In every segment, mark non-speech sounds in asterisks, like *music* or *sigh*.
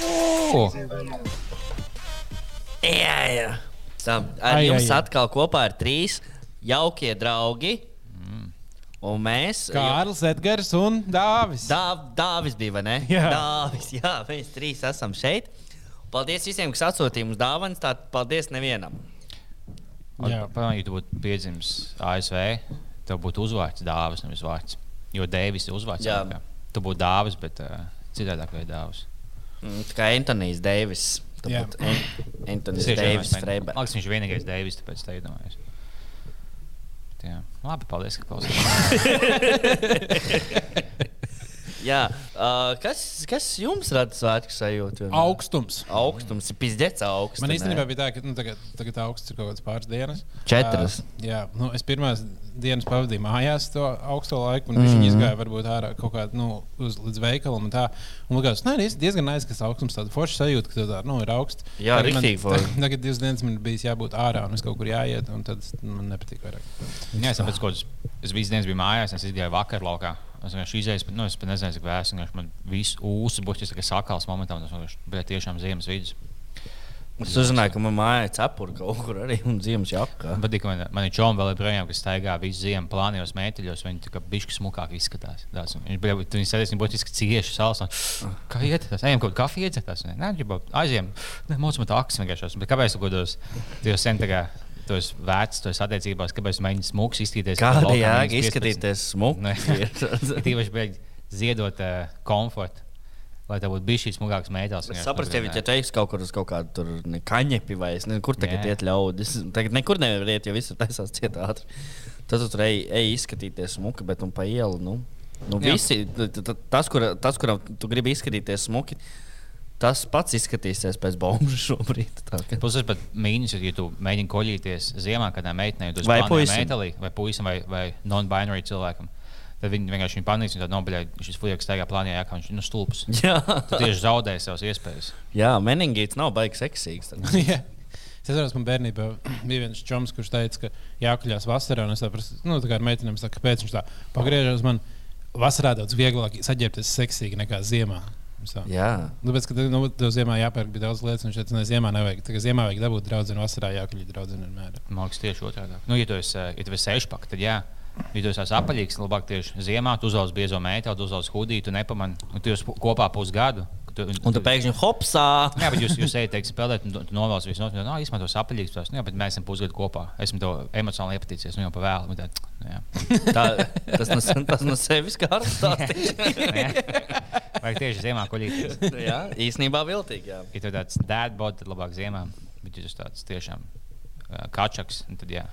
O, Jā, jā. Tā, ar Ai, ai, jums ai, ai. ai, atkal kopā ir trīs jaukie draugi. Un mēs. Kārlis, Edgars un Dāvis. Dāv, Dāvis bija, vai ne? Jā. Dāvis, jā, mēs trīs esam šeit. Paldies visiem, kas atsūtīja mums dāvanas. Tātad paldies nevienam. Jā. Pagaidām, ja tu būtu piedzimis ASV, tev būtu uzvārds dāvis, nevis vārds. Jo Dēvis ir uzvārds. Jā. Amerikā. Tu būtu dāvis, bet uh, citādāk bija dāvis. Mm, Tā kā Antonius Deivis. Jā. Tāpat Antonius ir Deivis Man Freibergs. liekas, viņš ir vienīgais Dēvis, tāpēc tā iedomājos. Bet, jā. Labi, paldies, ka klausāties. *laughs* Jā, uh, kas, kas jums rada svētku sajūtu? vienmēr? Augstums. Augstums ir pizdzēts augsts. Man īstenībā bija tā, ka nu, tagad, tagad augsts ir kaut kāds pāris dienas. Četras. Uh, jā, nu, es pirmās dienas pavadīju mājās to augsto laiku, un mm -hmm. Mhm. viņi izgāja varbūt ārā kaut kādā nu, uz- līdz veikalam. Un tā un likās, ka tas ir diezgan aizsmeļs augstums, tāds foršs sajūta, ka tas nu, ir augsts. Jā, Tagad man- riktīgi forši. *laughs* Tagad divas dienas man bija jābūt ārā, un es kaut kur jāiet, un tad man nepatīk vairāk. jā, es saprotu, kādas es visu dienu biju mājās, es izgāju vakar laukā. Es vienkārši izēju, bet, nu, es pat nezinu, cik vēsu. vienkārši Man viss ūsas būs tas, kas sakās momentā, un tas vienkārši bija tiešām ziemas vidus. Es uzzināju, ka manā mājā ir cepura kaut kur arī un ziemas jāapkā. Man patīk, ka man, man ir čoms vēl joprojām, kas staigā visu ziemu plānījos mētīļos. Viņi tur kā bišķi smukāk izskatās. Tās, un viņš bija tur sēdējis, viņš būtiski cieši salas. un, Kā iet? Tas ejam kaut kafiju iedzertās. Nē, viņš jau aizjām. Nē, mums man tā aksis vienkārši. esmu. Bet kāpēc tu godos? Tu jau sen tagad. Tu esi vecs, tu esi attiecībās, kāpēc tu mēģini smūgi izskatīties. Kāda Laukā jēga mēģini 15. izskatīties *laughs* smūgi? *laughs* Nē. Tīpaši beig ziedot uh, komfortu, lai tev būtu bijis šīs smagākas mētālas. Es saprotu, ja viņi teiks kaut kur uz kaut kādu tur ne- kaņepi vai es nezinu, kur tagad Jā. iet ļaudis. Tagad nekur nevar iet, jo viss ir taisās cietā ātri. Tad tu tur ej, ej izskatīties smuki, bet un pa ielu. Nu, nu Jā. visi, t- t- tas, kur, tas, kuram tu gribi izskatīties smuki, tas pats izskatīsies pēc bombu šobrīd. Tā kā- Plus, tas pat mīnus, ir, ja tu mēģini koļīties ziemā, kādā meitenē, tad Vai vai puisim. puisim, vai, puisim, vai, vai non-binary cilvēkam. Tad viņi vienkārši viņu panīs, un tad nobeļā šis fuljaks tajā plānā, kā viņš nu, stulbs. Jā, Tu tieši zaudēji savas iespējas. jā meningīts nav baigs seksīgs. *laughs* tad. *laughs* Jā. Es saprotu, man bērnībā bija viens čoms, kurš teica, ka jākuļās vasarā. un Es saprotu, nu, tā kā ar meitenēm, es tā, kāpēc viņš tā pagriežas. Man vasarā daudz vieglāk saģērbties seksīgi nekā ziemā. Es tā, Jā, Tāpēc, ka nu, tev ziemā jāpērk bija daudz lietas, un šeit ne, ziemā nevajag. Tā kā ziemā vajag dabūt draugu, un vasarā jākuļ draugu vienmēr. Man liekas, tieši otrādi. Nu, ja tu esi, eh, ja tev ir sešpaka, tad jā. Ja tu esi apaļīgs, tad labāk tieši ziemā, tu uzvelc biezo mētālu, tu uzvelc hudiju, tu nepamani, un tu esi kopā pusgadu. Tu, un tu pēkšņi hopsā! Jā, bet jūs, jūs ejat, teiksim, spēlēt, un tu- tu novēlas visu nost. Jā, īstenībā tas apaļīgs, tas jā, bet mēs esam pusgadu kopā. Esmu tev emocionāli iepatīcies, nu jau pa vēlu. un tā, nu jā. Tā, tas no, se- tas no sevis kā ar *laughs* stāstu. Vajag tieši ziemā koļīties. Nu Jā, īsnībā viltīgi. Jā. Ja tev tāds dēdbots, tad labāk ziemā, bet ja tu esi tāds tiešām uh, kačaks, un tad jā,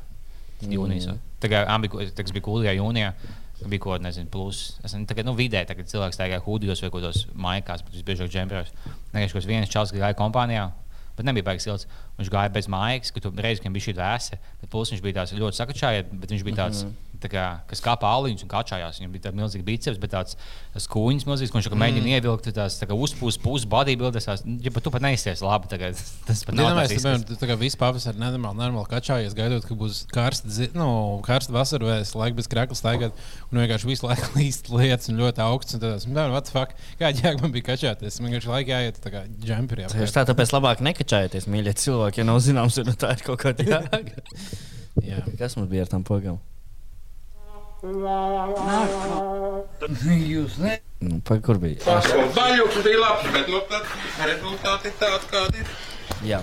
tad jūnijas. Mm. Mm. Tagad abi ko- tas bija kūdīgā jūnijā. Bija kaut kāda plus. Es nezinu, tagad, nu, vidē, tagad cilvēks tā kā hūdījos vai kaut kādos maijās, bet visbiežāk džempļos. Nē, kaut kāds viens čels gāja kompānijā. Bet nebija baigts silts. Viņš gāja bez mājas, kad tur reizē bija šī vēsa. Tad plūs viņš bija tāds ļoti sakačājies, bet viņš bija tāds, mm -hmm. tā kā, kas kāpā aliņus un kačājās. Viņam bija tāds milzīgs biceps, bet tāds skūņas milzīgs, ko viņš mm. mēģināja ievilkt. Tas tā kā uzpūs, pusi bodybuilders. tās, Ja pat tu pat neizties labi, tagad *laughs* tas pat nav. Iedomājieties, tāds ka izskats. tu tagad visu pavasari nenormāli, normāli kačājies, gaidot, ka būs karsta, zi- nu, karsta vasara vai es laiku bez krāklas tagad, un vienkārši visu laiku *laughs* līst lietas un ļoti augsts. Un tad es domāju, what the fuck, kā ģērbam man bija kačāties, man vienkārši laikā jāiet tā kā džemperi. Tieši apkārt. tā, tāpēc labāk nekačājieties, mīļie cilvēki. Ja nav zināms, tad tā ir kaut kāda jēga. Jā. Kas mums bija ar tām pogām? Jūs ne? Nu, pa, kur bija? Ah, Zaļuks bija labs, bet nu tad rezultāti tādi, kādi ir. Jā,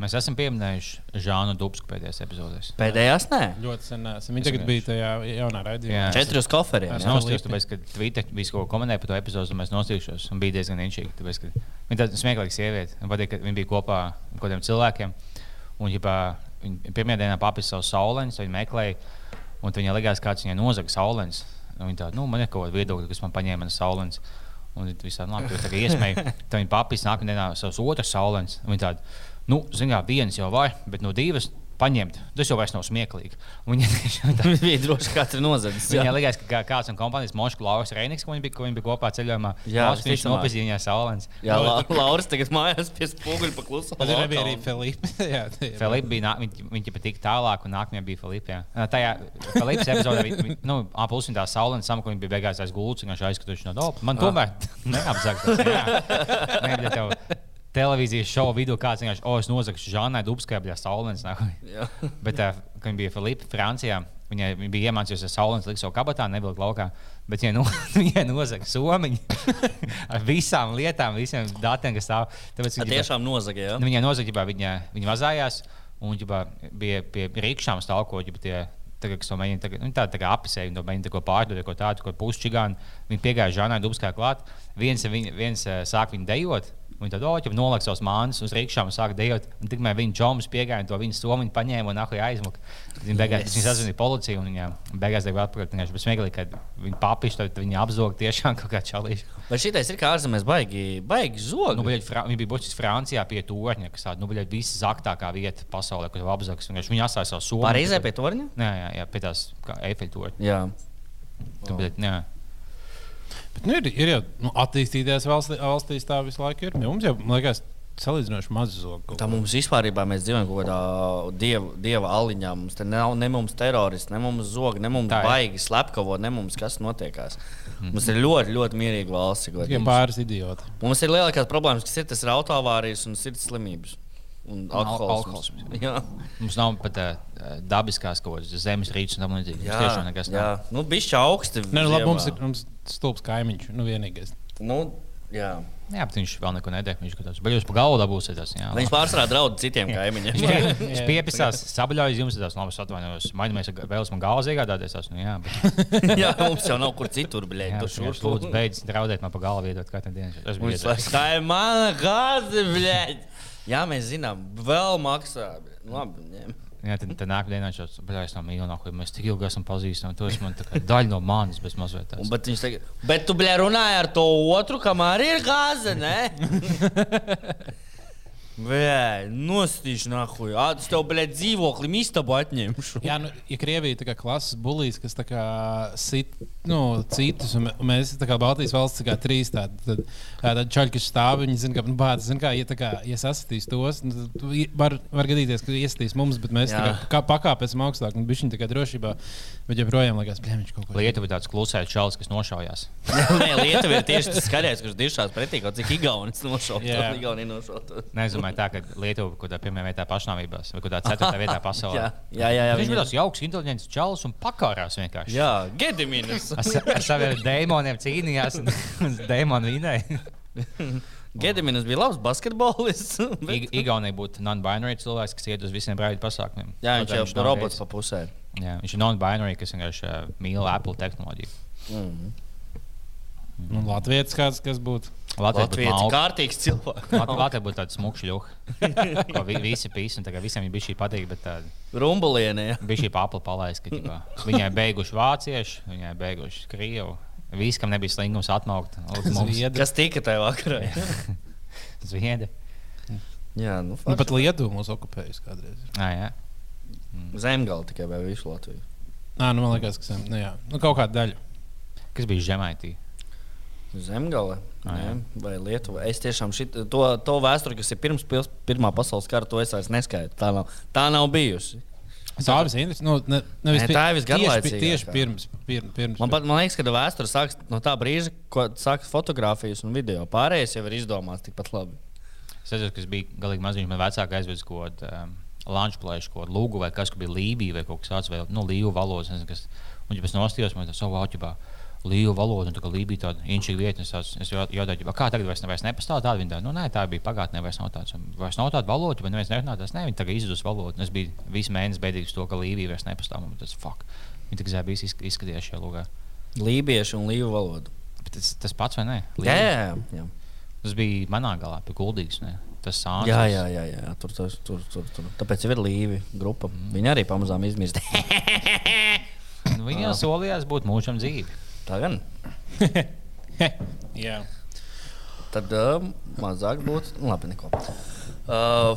Mēs esam pieminējuši Žānu Dubsku pēdējās epizodēs. pēdējās nē. Ļoti sen esam. Viņa tagad bija tajā jaunā raidījumā. Jā. Četrus koferiem. Es jā? nostājos, tāpēc, ka Twitter visu kaut ko komentēja par to epizodu, un es nostājos. Un bija diezgan inčīgi. Tāpēc, ka viņa tāda smieklīga sieviete. Man patīk, ka viņa bija kopā ar kaut kādiem cilvēkiem. Un, ja viņa pirmajā dienā papīra savu saulēnu, viņa meklēja, un tad viņai likās, kāds viņai nozaga saulēnu. Viņa tāda, nu, man ir kaut kāda viedokļa, kas man paņēma manas saulēnas. Un viņi visādi labi, jo tā kā iesmēja, tad viņi papīra nākamajā dienā savus otras saulēnas. Viņa tāda, nu, zināmā, viens jau vai, bet no divas paņemt. Tas jau vairs nav smieklīgi. Viņa *laughs* tiešām tā Viņš bija droši katru *laughs* nozadzis. Viņai likās, ka kā- kāds no kompānijas Moškas, Lauris Reinigs, ko viņi bija, ko viņi bija kopā ceļojumā, Jā, Lauris, viņš visticamāk. nopazīstināja Saulēns. Jā, La- Lauris tagad mājās pie spoguļa paklusa. Tad ir arī Filipa. *laughs* Jā, tie ir- Filipa bija, nā- viņ- viņa pat tik tālāk, un nākamajā bija Filipa. jā. Ā, Tajā Filipas epizodē, viņa- viņa- nu, apelsīna tā saule, un samakā viņa bija beigās aiz gultas, un viņš aizskatuši no doba. Man tomēr *laughs* neapzaktas. jā. Nē, bet tev Televīzijas šova vidū kāds vienkārši, oh, es nozagšu Žānai Dubskajā saulēns. Bet, tā, kad viņa bija Filipa Francijā, viņai- viņa bija iemācījusies saulēns likt savu kabatā, nevilkt laukā. Bet viņa, no, *laughs* viņa nozaga somiņu *laughs* ar visām lietām, visiem datiem, kas stāv. Tāpēc Jā, viņa- tiešām nozaga, jā. Nu, Viņai nozaga, viņa, viņa mazājās, un viņa bija pie rīkšām stāvokļa. tie Tagad, kas to mēģina, tagad, nu, tā, tā kā apseja, un to mēģina tā kā pārdot, ko tādu, ko pusčigānu. Viņa piegāja Žānai Dubskai klāt. Viens, viņa, viens eh, sāk viņu dejot, un tad oķi nolaiks savus mānus uz rīkšām un sāk dejot. Un tikmēr viņa čoms piegāja, un to viņas somiņu paņēma un ahlī aizmuka. Tad Viņa beigās Yes. yes. sazvanīja policiju, un viņa beigās devu atpakaļ. Viņa bija smieklīgi, ka viņa papišķi, tad viņa apzog tiešām *laughs* kaut kā čalīšu. Vai šitais ir kā ārzemēs baigi, baigi zogi? Nu, bļaļ, Fra viņa bija bocis Francijā pie torņa, kas tāda nu, bļaļ, viszaktākā vieta pasaulē, kur apzags. Viņa atstāja savu somu. Parīzē pie torņa? Nē, jā, jā, pie tās efektorņa. Jā. Oh. Tur Bet, nu, ir, ir jau nu, attīstīties valstī, valstīs, tā visu laiku ir. Mums jau, man liekas, salīdzinoši maz zogu. Tā mums vispār ir, mēs dzīvojam kaut kādā dieva, dieva aliņā. Mums te nav ne mums terorists, ne mums zogi, ne mums Tā ir. Mhm. baigi slepkavo, ne mums kas notiekās. Mums ir ļoti, ļoti mierīga valsts. ko Tikai mums- pāris idioti. Mums ir lielākās problēmas, kas ir tas ir autoavārijas un sirds slimības. Un al- alkohols. alkohols. Jā, mums nav pat uh, dabiskās kaut kādas zemes rīces un tam līdzīgi. Mums tiešām nekas jā. nav. Nu, bišķi augsti. Nē, nu, labi, ziemā. mums ir mums stulbs kaimiņš. Nu, vienīgais. Nu, jā. Jā, bet viņš vēl neko nedēļ. Viņš kaut kāds baļos pa galvu dabūs. Tas, jā, Viņš labi. pārsvarā draud citiem Viņš kaimiņiem. *laughs* pie- Viņš piepisās, sabļāvis jums, tas labi, es atvainojos. Maģinājums, ka vēlas man galvas iegādāties. tās, Nu, jā, bet, *laughs* jā, mums jau nav kur citur, jā, blēņ. Tur viņš šurp lūdzu beidz draudēt man pa galvu iedot katru dienu. Tas bija Viņš vairs tā ir mana gāze, blēņ. Jā, mēs zinām, vēl maksā. bļeģ. Labi, nu, ņem. Jā, tad, tad nākamā dienā viņš jau tādā mazā mīlestībā, ko mēs tik ilgi esam pazīstami. Tas man tā kā daļa no manis bez mazliet Un, tādas. bet, viņš tagad, bet tu, blēņ, runāji ar to otru, kam arī ir gāze, *laughs* ne? Blēņ, nostīšu nahuj. Es tev, blēņ, dzīvokli mistabu atņemšu. Jā, nu, ja Krievija ir klases bulīs, kas tā kā sit nu, citus, un mē- un mēs tā kā Baltijas valsts ir trīs tādi, tad, ā, tad čaļi, kas stāv, viņi zina, ka nu, bāds, zina, kā, ja, tā kā, ja sasitīs tos, nu, tad tu i- var, var gadīties, ka iesitīs mums, bet mēs tā Jā. kā, kā pakāpēsim augstāk, un bišķiņi tā kā drošībā, bet joprojām liekas, bļēm, viņš kaut ko. Lietuva ir tāds klusējs čalis, kas nošaujās. *laughs* Nē, Lietuva ir tieši tas skaļākais, kurš diršās pretī kaut cik Igaunis nošaukt. Jā. Yeah. Igaunija nošaukt. Nezinu, tā kā Lietuva ir kaut kādā pirmajā vietā pašnāvībās, vai kaut kādā ceturtajā *laughs* vietā pasaulē. Jā, jā, jā. jā Viņš viņi- bija tāds jauks, inteliģents čalis un pakārās vienkārši. Jā, Gediminas. *laughs* Ar sa- ar saviem dēmoniem cīnījās, un *laughs* un dēmoni vinēja. Gediminas bija labs basketbolists. bet- Igaunija būtu non-binary cilvēks, kas iet uz visiem brīvības pasākumiem. Jā, Kaut viņš kā jau ir nav robots gejs. pa pusē. Jā, viņš ir non-binary, kas vienkārši uh, mīl Apple tehnoloģiju. Mm. Nu, Latvijas kāds, kas būtu. Latvija būtu Latvijas mauka. kārtīgs cilvēks. Lat- Latvija būtu tāda smukša ļuka. Ko vi- Visi pīsi, un tagad visiem bija šī patīk, bet tāda Rumbulienē. bija šī papla palaist, ka ģipā, viņai beiguši vācieši, viņai beiguši krievi. Visi, kam nebija slingums atmaukt, lūdzu, Zviedri. Kas tika tajā vakarā? zviedri. Jā, nu, Nu, faktiski. pat Lietuva mūs okupējusi kādreiz. Nā, jā. Zemgala tikai vai visu Latviju. Nā, nu, man liekas, ka sem, nu, jā. nu, kaut kāda daļa. Kas bija žemaitī? Zemgala. Ah, jā. Nē, vai Lietuva? Es tiešām šit, to, to vēsturi, kas ir pirms pils- Pirmā pasaules kara, to es vairs neskaitu. Tā nav, tā nav bijusi. Sāvis Indriks, nu, ne, nevis Nē, pi- tā ir tieši pi- visgarlaicīgākā. Tieši pirms, pirms, pirms. Man, pat, man liekas, ka tā vēsture sākas no tā brīža, kad sākas fotografijas un video. Pārējais jau ir izdomāts tikpat labi. Es saprotu, kas bija galīgi maziņš. Man vecāka aizveda kaut ko um, lanču plēšu, ko lūgu vai kas, kur bija Lībija vai kaut kas tāds, vai nu, Līvu valodas. Nezinu, kas. Un, ja es nostājos, man tas savā autībā. Līja valoda, un tā kā Lībija tāda inčīga vieta, un es tās- es jau- jautāju, ģipā, kā tagad vairs, ne- vairs nepastāv tāda viena. Nu, nē, tā bija pagātnē, vairs nav tāds. Un Vairs nav tāda valoda, vai neviens nerunā tās. Nē, viņi tagad izdus valodu. Un Es biju visu mēnesi beidzīgs to, ka Lībija vairs nepastāv. Man tas fuck. Viņi tagad zēbīs izskatījās šajā logā. Lībiešu un Līvu valodu. Bet tas, tas pats vai nē? Jā, jā, jā. Tas bija manā galā, pie kuldīgas. ne? Tas sāns. Jā, jā, jā, jā. Tur, tas- tur, tur, tur. Tāpēc jau ir Līvi grupa. Viņi arī pamazām izmirst. Nu, viņi jau solījās būt mūžam dzīvi. tā gan. *laughs* Jā. Tad uh, mazāk būtu. nu, Labi, neko. Uh,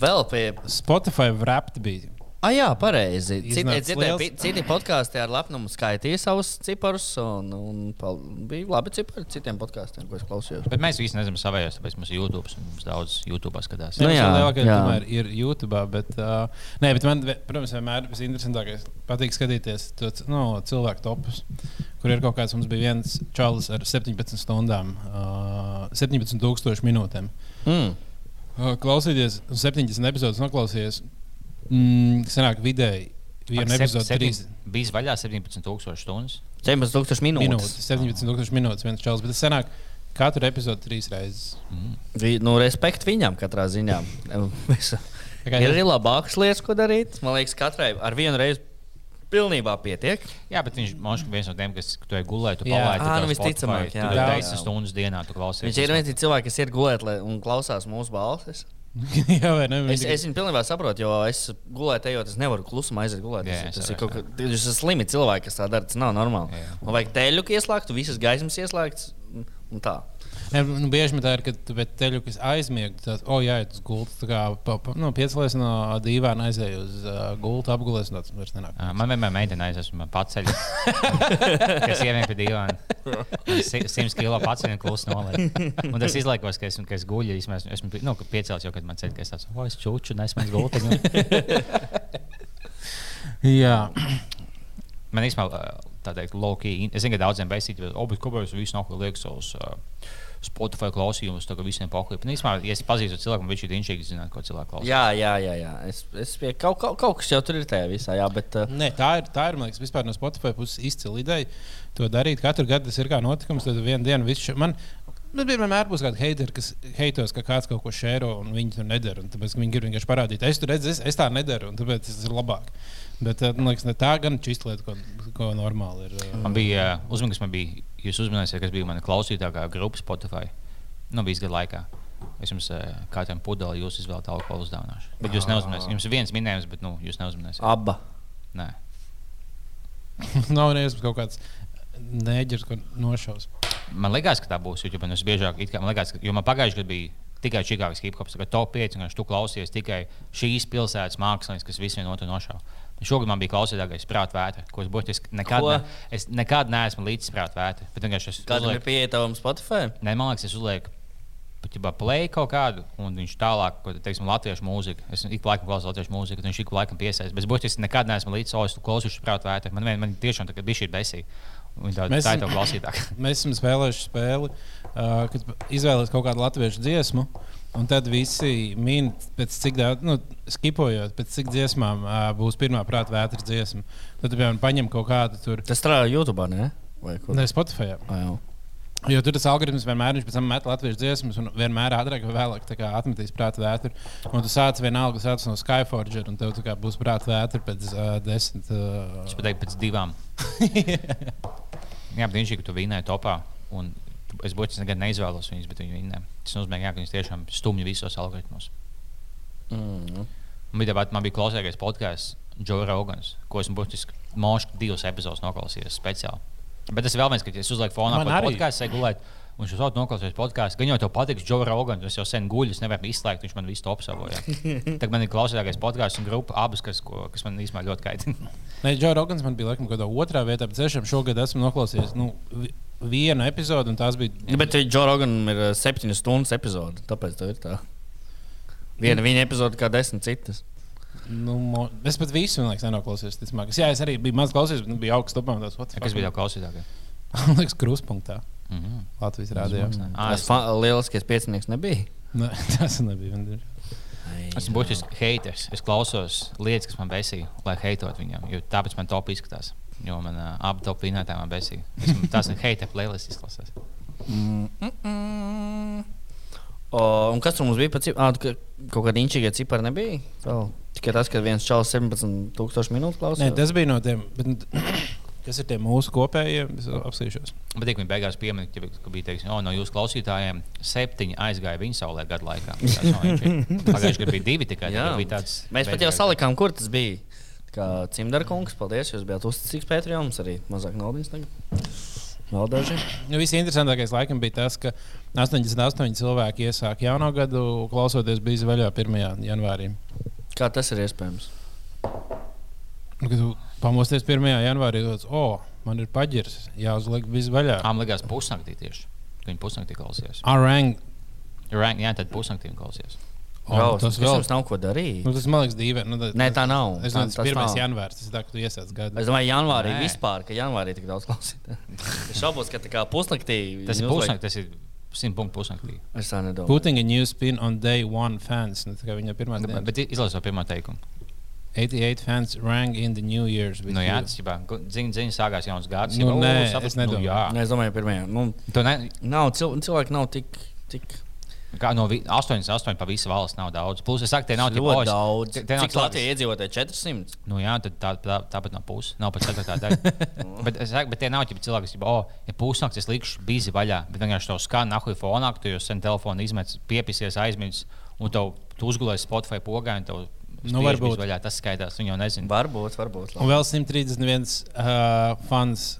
Vēl pie. Spotify wrapped bija. Ah, jā, pareizi. Citi, Iznāca dzirdēju, liels. pi- citi podkāstī ar lepnumu skaitīja savus ciparus, un, un pal, bija labi cipari citiem podkāstiem, ko es klausījos. Bet mēs visi nezinām savējos, tāpēc mums ir YouTube, un mums daudz YouTube skatās. Nu Nu, jā, jā, lielākā jā. daļa tomēr ir YouTube. Bet, uh, nē, bet man, ve- protams, vienmēr ir interesantākais. Patīk skatīties to c- nu, cilvēku topus, kur ir kaut kāds. Mums bija viens čalis ar 17 stundām, uh, 17,000 minūtēm. Mm. Uh, klausīties, 70 epizodes noklausīties. Mm, senāk vidēji viena epizode 3 Bija vaļā 17,000 stundas. 17,000 minūtes. minūtes. 17,000 minūtes viens čalis, bet tas senāk katru epizodu trīs reizes. *laughs* Mm. Vi- Nu, respekt viņam katrā ziņā. Visu. Tā kā Ir tas- arī labākas lietas, ko darīt. Man liekas, katrai ar vienu reizi pilnībā pietiek. Jā, bet viņš man šķiet, viens no tiem, kas tur gulēja, tu Jā. palaidi. Ā, nu, visticamāk, jā, jā. jā. 10 stundas dienā tu klausies. Viņš ir viens cilvēks, kas iet gulēt lai- un klausās mūsu balsis. Jā, vai Mm. ne? Es, es viņu pilnībā saprotu, jo es gulēju, ejot, es nevaru klusumā aiziet gulēt. Jā, Jā, tas, es tas ir saprotu, kaut kas tāds, kas ir slimi cilvēki, kas tā dara. Tas nav normāli. Jā. Man vajag teļu ieslēgt, visas gaismas ieslēgts. un- Un tā. Ne, nu, bieži vien tā ir, kad teļu, kas aizmiegt, tad, oh, jā, tas gultas, tā kā pa- pa- nu, piecelies no dīvāna aizēju uz uh, gultu, apgulies, un tāds vairs nenāk. Ā, Man vienmēr ir meitene, es esmu *laughs* paceļ. Es ievienu pie dīvaina. 100 kilo paceļ un klusi nolēju. Un tas izlaikos, ka esmu, ka es guļu. Es esmu, esmu nu, ka piecēlis jau, kad man ceļ, ka es tāds, o, es čuču, nesmu gultiņu. Jā, Man īstenībā tā teikt, low-key. Es zinu, ka daudziem beisīt, bet obi kubējus visu nokļu liek savus. ā, Spotify klausījumus, tagad visiem paklīpst. Īsumā, ja es pazīstu cilvēku, viņš ir inčīgi zināt, ko cilvēks klausās. Jā, jā, jā. jā. Es, es pie, kaut, kaut, kaut kas jau tur ir tajā visā. Jā, bet, uh, Nē, tā ir, tā ir, man liekas, vispār no Spotify puses izcila ideja to darīt. Katru gadu tas ir kā notikums, tad vienu dienu viss šo. Man, Man vienmēr būs kāda haitera, kas heitos, ka kāds kaut ko šēro un viņi to nedara. un Tāpēc ka viņi grib vienkārši parādīt, es tur redzu, es, es tā nedaru, un tāpēc tas ir labāk. Bet eh, man liekas, ne tā gan čista lieta, ko, ko normāli ir. eh, Man bija uh, uzmanīgs, man bija. Jūs uzmanījāties, kas bija mana klausītākā grupa Spotify. Nu, bija gada laikā. Es jums uh, katram pudeli jūs izvēlēt alkohola uzdāvināšu. Bet jūs neuzmanījāties. Jums ir viens minējums, bet nu, jūs neuzmanījāties. Abas. Nē, *laughs* Nav neiespējams kaut kāds neģers, ko nošaus. man liekas, ka tā būs. Jo man tas biežāk, it kā, man liekas, ka, jo man pagājušajā gadā bija. Tikai Čikāgas hip hops, tagad top 5, un tu klausies tikai šīs pilsētas mākslinieks, kas visu vienu otru nošāva. Šogad man bija klausītājs prāta vētra, ko es būtiski nekad, Ko? ne, es nekad neesmu līdz prāta vētra. Bet vienkārši es Kādam uzlieku- ir pieejama Spotify? Nē, man liekas, es uzlieku patiesībā play kaut kādu, un viņš tālāk, ko teiksim, latviešu mūziku. Es ik pa laikam klausos latviešu mūziku, un viņš ik pa laikam piesaistās. Bet būtībā nekad neesmu līdz savai klausījušai prātu vērtē. Man, vien- man tiešām tagad bija šī besija. Tā, Mēs tā ir esam- tā klausītāka. Mēs esam spēlējuši spēli, uh, kad izvēlamies kaut kādu latviešu dziesmu. Un tad visi min, pēc cik daudz, nu, skipojot, pēc cik dziesmām uh, būs pirmā prāta vētras dziesma. Tad, piemēram, paņem kaut kādu tur, Tas strādā YouTube, ne? Vai kur? ne Spotify. Ah, jā. Jo tur tas algoritms vienmēr ir, pēc tam met latviešu dziesmas, un vienmēr ātrāk vai vēlāk tā kā atmetīs prāta vētru. Un tu sāc vienalga, sāc no Skyforger, un tev tā kā būs prāta vētra pēc uh, desmit. Es Uh, pateiktu, pēc divām. *laughs* Jā, bet viņš ir tur vīnē topā. un tu- Es būtiski nekad neizvēlos viņus, bet viņi vinnē. Tas nozīmē, jā, ka viņi tiešām stumj visos algoritmos. Mm. Un Bija tāpat, man bija klausījies podkāsts Joe Rogans, ko esmu būtiski mākslinieks divas epizodes noklausījies speciāli. Bet tas ir vēl viens, kad es uzlieku fonā Man par arī. podkāstu, sēžu gulēt. Un viņš jau noklausās podkāstu. Gan jau tev patiks, Džo Rogans. Es jau sen guļu, es nevaru izslēgt, viņš man visu to apsavoja. Tagad man ir klausītākais podkāsts un grupa abas, kas, ko, kas man īstenībā ļoti kaitina. Nē, Džo Rogans man bija laikam, kaut kādā otrā vietā, bet tiešām šogad esmu noklausījies nu, vi- vienu epizodi, un tās bija. Bet Džona Roganam ir eh, septiņas stundas epizode. Tāpēc tā ir tā. Viena viņa epizode, kā desmit citas. Nu, mo- es pat visu, man liekas, nenoklausījos. ticamāk. Es- Jā, es arī biju maz klausījies, bet nu, biju augsts topā. Tas Kas bija tev klausītākais? *laughs* Man liekas, kruspunktā. Mm -hmm. Latvijas rādījā. Ā, Tas Ah, es- lieliskais piecinieks nebija. Nē, *laughs* Tas nebija. vienkārši. Esmu būtisks haters. Es klausos lietas, kas man besīja, lai heitot viņam. jo Tāpēc man top izskatās. Jo man uh, abi top vinnētāji man besīja. Tas ir heita playlist izklausās. O, un kas tur mums bija? Pēc, à, kaut kāda inčīga cipara nebija. Vēl. Tikai tas, ka viens čels 17,000 minūtes klausās. Nē, tas bija no tiem. Bet, nu, *clears throat* kas ir tie mūsu kopējie? Es apsīšos. Bet viņi beigās pieminēja, ka bija- ka bija teiksim, oh, no jūsu klausītājiem septiņi aizgāja viņa saulē gadu laikā. Tas *laughs* nav vienkārši. Pagājušajā gadā bija divi tikai. Jā. tagad Bija tāds, Mēs pat beigās- jau salikām, kur tas bija. Tā Kā Cimdarkungs, paldies, jūs bijāt uzticīgs Patreonam, arī mazāk naudas. tagad. Vēl daži. Nu, Viss interesantākais laikam bija tas, ka 88 cilvēki iesāk jauno gadu, klausoties bija zvaigžā 1. janvārī. Kā tas ir iespējams? Nu, Kad tu pamosties 1. janvārī, tad, o, man ir paģirs, jāuzliek bija zvaigžā. Ām likās pusnaktī tieši. ka Viņi pusnaktī klausījās. Arang, Rank, jā, tad pusnaktī viņi klausījās. o, tas vēl. mums nav ko darīt. Nu, tas man liekas dīvaini. Nu, tad- Nē, tā nav. Es Tā- domāju, tas ir 1. tas nav. janvārs. Tas ir tā, ka tu iesāc gadu. Es domāju, janvārī Nē. Nē. vispār, ka janvārī tik daudz *laughs* klausīties. Es šaubos, ka tā kā pusnaktī. Tas ir viņi uzliek- pusnaktī, tas ir simt punktu pusnaktī. Es tā nedomāju. Putting a new spin on day one fans. Nu, tā kā viņa pirmā diena. Bet izlasot pirmā teikumu. 88 fans rang in the new year's. with Nu, jā, you. tas ir dziņa, dziņa sākās jauns gads. Nu, jau, nē, o, saprast, es nedomāju. Nu, jā, Nē, es domāju, pirmajā. Nu, tu ne, nav cil cilvēki nav tik. tik kā no vi- 88 pa visu valsts nav daudz. Plus, es saku, tie nav tik ļoti o, es- daudz. Te, te nav Cik cilvēki- Latvijai iedzīvotāji 400? Nu, jā, tad tā, tā, tāpat nav puse. Nav pat ceturtā daļa. *laughs* bet, es saku, bet tie nav tikai cilvēki, kas, oh, ja pusnakts es likšu bizi vaļā, bet vienkārši tev skan nahuļ fonā, tu jau sen telefonu izmets, piepisies aizmirsis, un tev tu uzgulēji Spotify pogā, un tev Nu, spiež varbūt. bizi vaļā. Tas skaitās, viņi jau nezina. Varbūt, varbūt. Un labi. vēl 131 uh, fans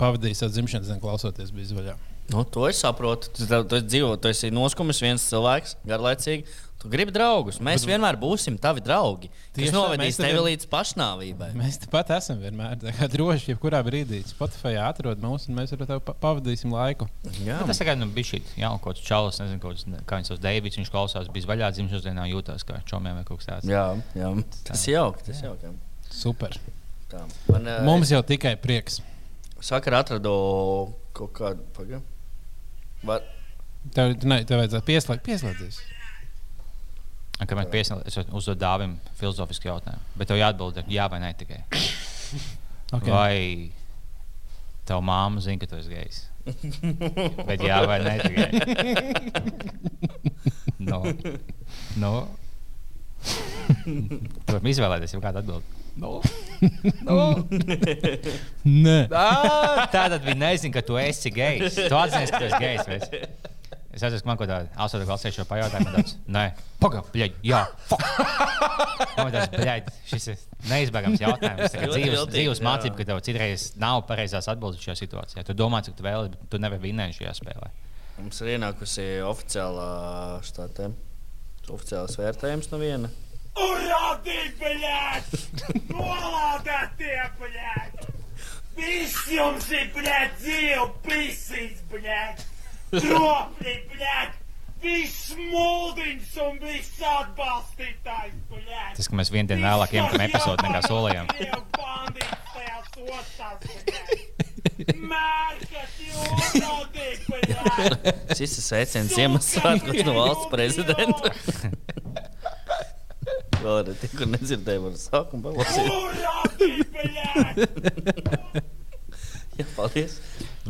pavadīja savu dzimšanas dienu klausoties bija zvaigžā. Nu, to es saprotu. Tu, tu, tu dzīvo, tu esi noskumis viens cilvēks, garlaicīgi. Tu gribi draugus. Mēs vienmēr būsim tavi draugi. Tieši Kas tā, novedīs mēs tevi teviem- līdz pašnāvībai? Mēs tepat esam vienmēr tā kā droši, jebkurā brīdī. Spotify atrod mūs, un mēs ar tevi pa- pavadīsim laiku. Jā, Nu, Tas tagad nu, bija šī jau kaut kāds čalis, nezinu, kaut kāds, kā viņš tos Deivids, viņš klausās, bija vaļā dzimšanas dienā, jūtās kā čomiem vai kaut kas tāds. jā, jā. tas ir jauki. Tas ir jauki. Super. Tā. Man, eh, Mums jau tikai prieks. Vakar atradu kaut kādu pagaidu. Var... Tev, tu ne, tev vajadzētu pieslēgt, pieslēgties. Kamēr piesaistās, es uzdodu dāvim filozofisku jautājumu. Bet tev jāatbild ar jā vai nē tikai. Okay. Okay. Vai tava māma zina, ka tu esi gejs? Bet jā, vai *laughs* nē, *laughs* tikai. Nu, no. no. nu. *laughs* Tu vari izvēlēties, jau kādu atbildēt. No. *laughs* Nē, Tā tad viņi nezina, ka tu esi gejs. Tu atzini, ka tu esi gejs. Mēs. Es atceros, ka man kaut kādā astotā klasē šo pajautājumu man tāds - nē, pagaidi, jā, fuck. Man tāds, bļaļ, šis ir neizbēgams jautājums. Tā kā Ļoti dzīves, viltīgi, dzīves jā. mācība, ka tev citreiz nav pareizās atbildes šajā situācijā. Tu domā, cik tu vēlies, bet tu nevari vinēt šajā spēlē. Mums ir ienākusi oficiālā štāte. Oficiāls vērtējums no viena. Уродный, блядь! Молодоте, блядь! Писем же, блядь, дел, писать, блядь! Тропли, блядь! Vismūdiņš un viss atbalstītājs, blядь! Tas, ka mēs vienu dienu vēlāk iemetam epizodi, nekā solījām. Mērķis ir uzrādīt, blядь! Šis ir sveiciens Ziemassvētkos no valsts prezidenta. Vēl arī tikko nedzirdēju, varu sākumu palasīt. Urādīt, blядь! Jā, paldies.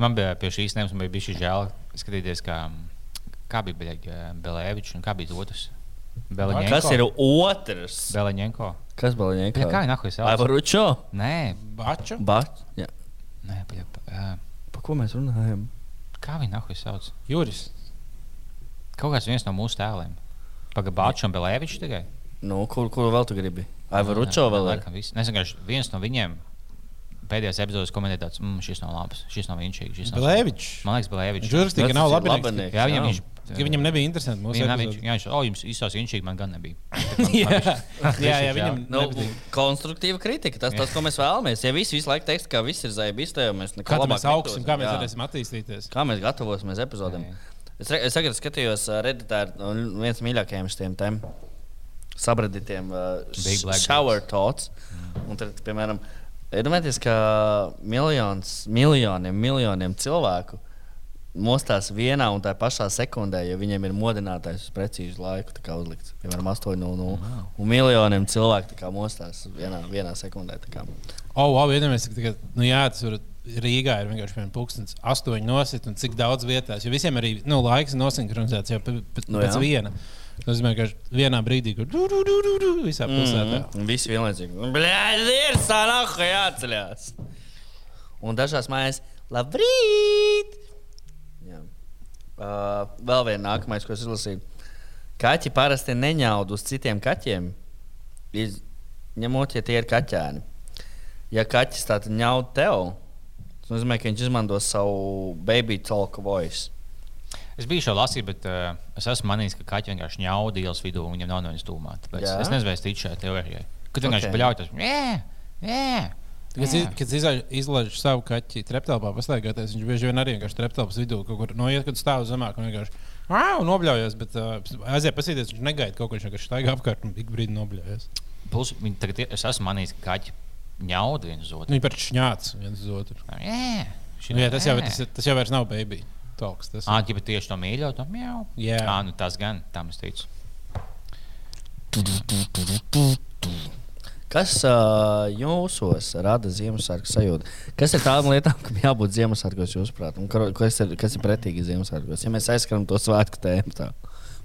Man bija pie šīs tēmas, man bija bijis žēl skatīties, kā, kā bija Beļģa- Belēvičs un kā bija otrs. Beleņenko. Kas ir otrs? Beleņenko. Kas bija Bļaļ, Kā Lenka? viņa nahuj sauc? Aivaručo. Nē, baču. Bat. Jā. nē, bļaļ, ā, Pa ko mēs runājam? kā viņa nahuj sauc? Juris. Kaut kāds viens no mūsu tēliem. Pagabāčam, Belēvičs tikai. Nu, kur, kur vēl tu gribi? Aivaručo vēl ir. Laikam viss. Es vienkārši viens no viņiem pēdējās epizodes komentēja tāds, mmm, šis nav labs, šis nav viņš. Blēvičs. Man liekas, Belēvičs. Juris tikai nav labi. labinieks, Jā, viņam viņš. Ka viņam nebija interesanti mūsu Viņam nav viņš. epizode. Jā, viņš. O, jums īstās inčīgi man gan *laughs* nebija. Jā, jā, jā, viņam Nu, nepatīk. konstruktīva kritika. Tas, tas, ko mēs vēlamies. Ja viss visu laiku teiks, ka viss ir zaibis, tad jau mēs neko Kā tad labāk mēs augsim, kā nedosim. mēs Jā. varēsim attīstīties? Kā mēs gatavosimies epizodēm? Jā, jā. Es, re- es tagad skatījos uh, Redditā ar- un viens no mīļākajiem šiem tēm. Sabradītiem Big uh, Black shower thoughts. Un tad, piemēram, iedomājieties, ka miljons, miljoniem, miljoniem cilvēku mostās vienā un tā pašā sekundē, jo viņiem ir modinātājs uz precīzu laiku, tā kā uzlikts, piemēram, 8.00. Un miljoniem cilvēku tā kā mostās vienā, vienā sekundē. tā kā. O, oh, wow, iedomājieties, ka tagad, nu, jā, tas var Rīgā ir vienkārši piemēram, pulkstenis astoņi nosit, un cik daudz vietās. Jo visiem arī nu, laiks ir nosinhronizēts jau p- p- Nu pēc jā. viena. Tas nozīmē, ka vienā brīdī, kur tur tur tur tur tur visā Mm. pilsētā. Un Visi vienlaicīgi. Bļaigi, ir sanāku jāceļās. Un dažās mājās - labrīt! Jā. Uh, vēl viena nākamais, ko es izlasīju. Kaķi parasti neņaud uz citiem kaķiem, iz... ņemot, ja tie ir kaķēni. Ja kaķis tātad ņaud tev, Tas nozīmē, ka viņš izmanto savu baby talk voice. Es biju šo lasīju, bet uh, es esmu manījis, ka kaķis vienkārši ņauda ielas vidū un viņam nav no viņas tūmā. Tāpēc Jā? Es nezinu, vai es ticu šai teorijai. Kad vienkārši Ok. okay. paļauties, jā, Kad, jā. iz- kad izlaiž- izlaiž savu kaķi treptelpā, pastaigāties, viņš bieži vien arī vienkārši treptelpas vidū kaut kur noiet, kad stāv zemāk un vienkārši "Ā!" un nobļaujas. Bet uh, aiziet pasīties, viņš negaida kaut ko, viņš vienkārši staigā apkārt un ik brīdi nobļaujas. Plus, viņi tagad, ir- es esmu manījis, ka kaķis ņauda viens uz otru. Nu, Viņi pat šņāc viens uz otru. Jā, Nu, jā, tas, jau, tas, ir- tas jau vairs nav baby talks. Tas, Ā, ķipa tieši to mīļo, to mjau. Jā. Ā, nu tas gan, tam es ticu. Kas uh, jūsos rada Ziemassvētku sajūtu? Kas ir tādām lietām, kam jābūt Ziemassvētkos, jūsuprāt? Un kar- kas ir, kas ir pretīgi Ziemassvētkos? Ja mēs aizskrām to svētku tēmu, tad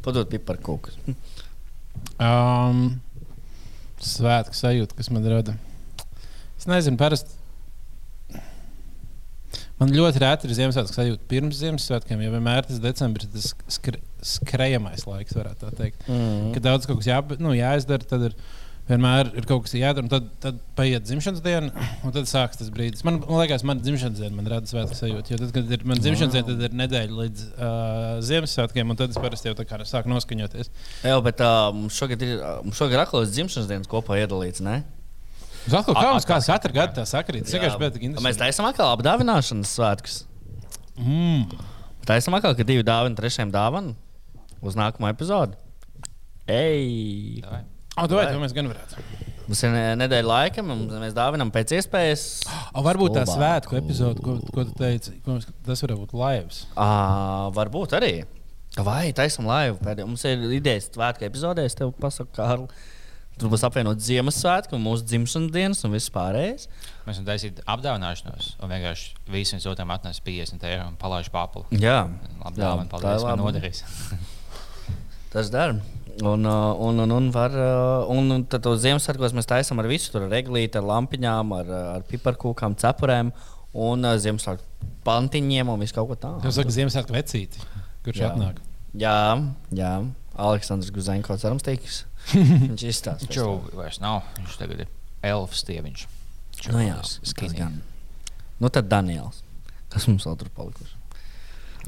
padod piparkūku. Um, svētku sajūta, kas man rada. Es nezinu, parasti. Man ļoti rēti ir Ziemassvētku sajūta pirms Ziemassvētkiem, jo vienmēr tas decembris ir tas skre, skrejamais laiks, varētu tā teikt. Mm. Kad daudz kas jā, nu, jāizdara, tad ir vienmēr ir kaut kas jādara. un Tad, tad paiet dzimšanas diena, un tad sākas tas brīdis. Man, man liekas, man dzimšanas diena man rada svētku sajūtu. Jo tad, kad ir mana dzimšanas diena, tad ir nedēļa līdz uh, Ziemassvētkiem, un tad es parasti jau tā kā sāku noskaņoties. Jā, bet uh, mums šogad ir ā, mums šogad ir aklas dzimšanas dienas kopā iedalīts. Ne? Uz atkal A- kauns, atkal kā katru gadu tā sakrīt. Es vienkārši Jā. biju tik A, Mēs interesants. taisām atkal apdāvināšanas svētkus. Mm. Taisām atkal, ka divi dāvana trešajam dāvana uz nākamo epizodu. Ei! Davai. O, davai, to mēs gan varētu. Mums ir ne- nedēļa laika, un mēs dāvinām pēc iespējas. O, varbūt tā Labāk. svētku epizode, ko, ko tu teici, ko mēs, tas var būt laivs. À, varbūt arī. Vai taisam laivu pēdējo? Mums ir idejas svētku epizodē, es tev pasaku, Kārl. Tur būs apvienot Ziemassvētku, un mūsu dzimšanas dienas un viss pārējais. Mēs esam taisījuši apdāvināšanos, un vienkārši visi viens otram atnesa 50 eiro un palaiž papli. Jā, Labi, Jā, dāvana, tā ir paldies, man laba. noderēs. tas dara. Un, uh, un, un, un, var, uh, un un tad to Ziemassvētkos mēs taisām ar visu, tur ar reglīti, ar lampiņām, ar, uh, ar piparkūkām, cepurēm un uh, Ziemassvētku pantiņiem un visu kaut ko tādu. Jūs sakat, Ziemassvētku vecīti, kurš Jā. Jā. atnāk. Jā, jā. Aleksandrs Guzenko cerams teiks. *laughs* Viņš Viņš izstāsta. jau vairs nav, viņš tagad ir elfs tieviņš. Viņš jau Nu jā, tas tas skinny. gan. Nu tad Daniels. Kas mums vēl tur palikuši?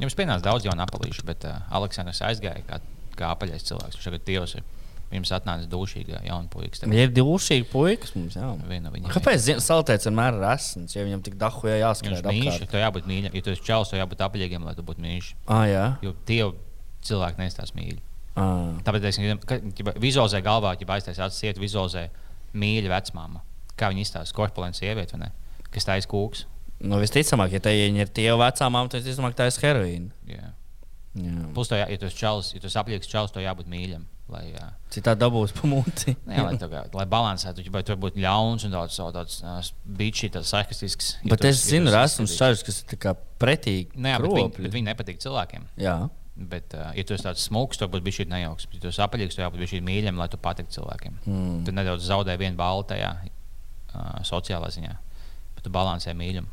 Jums pienāca daudz jaunu apelīšu, bet uh, Aleksandrs aizgāja kā, kā apaļais cilvēks. Viņš tagad dievs ir. Pirms atnāca dūšīgā jauna puikas. tagad Viņi ir dūšīgi puikas mums, jā. Viena no viņiem. Nu, Kāpēc zi- saltēts vienmēr ir asins, ja viņam tik dahu jāskrien Viņš ir mīļš, apkārt? tev jābūt mīļam. Ja tu esi čels, tev jābūt apaļīgam, lai tu būtu mīļš. Ā, jā. Jo tie cilvēki nestās mīļi. Ā. Tāpēc es domāju, ka vizualizē galvā, ja aiztaisīs acis, iet vizualizē mīļa vecmāma. Kā viņa izstāsta korpulenta sieviete, vai ne? Kas taisa kūks. Nu visticamāk, ja te viņi ir tie vecā māma, tad visticamāk tā ir heroīna. Jā. Jā. Plus, tev jā, ja tu esi čels, ja tu esi apaļīgs čels, tev jābūt mīļam. Lai, jā. Citā dabūs pamūti. *laughs* Nē, lai, tā, kā- lai balansētu, ja tu vari būt ļauns un tāds - tāds - bičs, tāds sarkastisks. ja Bet tu es esi- ja tu zinu, esi rasums izskatīgs. čārus, kas ir tā kā pretīgi. Nē, Nu jā, bet viņi, kropļi. bet viņi nepatīk cilvēkiem. Jā. Bet, uh, ja tu esi tāds smūgs, tad būs bijis nejauks. Bet, Ja tu esi apaļīgs, tad jābūt bijis mīļam, lai tu patiktu cilvēkiem. Mm. Tu nedaudz zaudē vienu balvu tajā uh, sociālā ziņā, bet tu balansē mīļumu.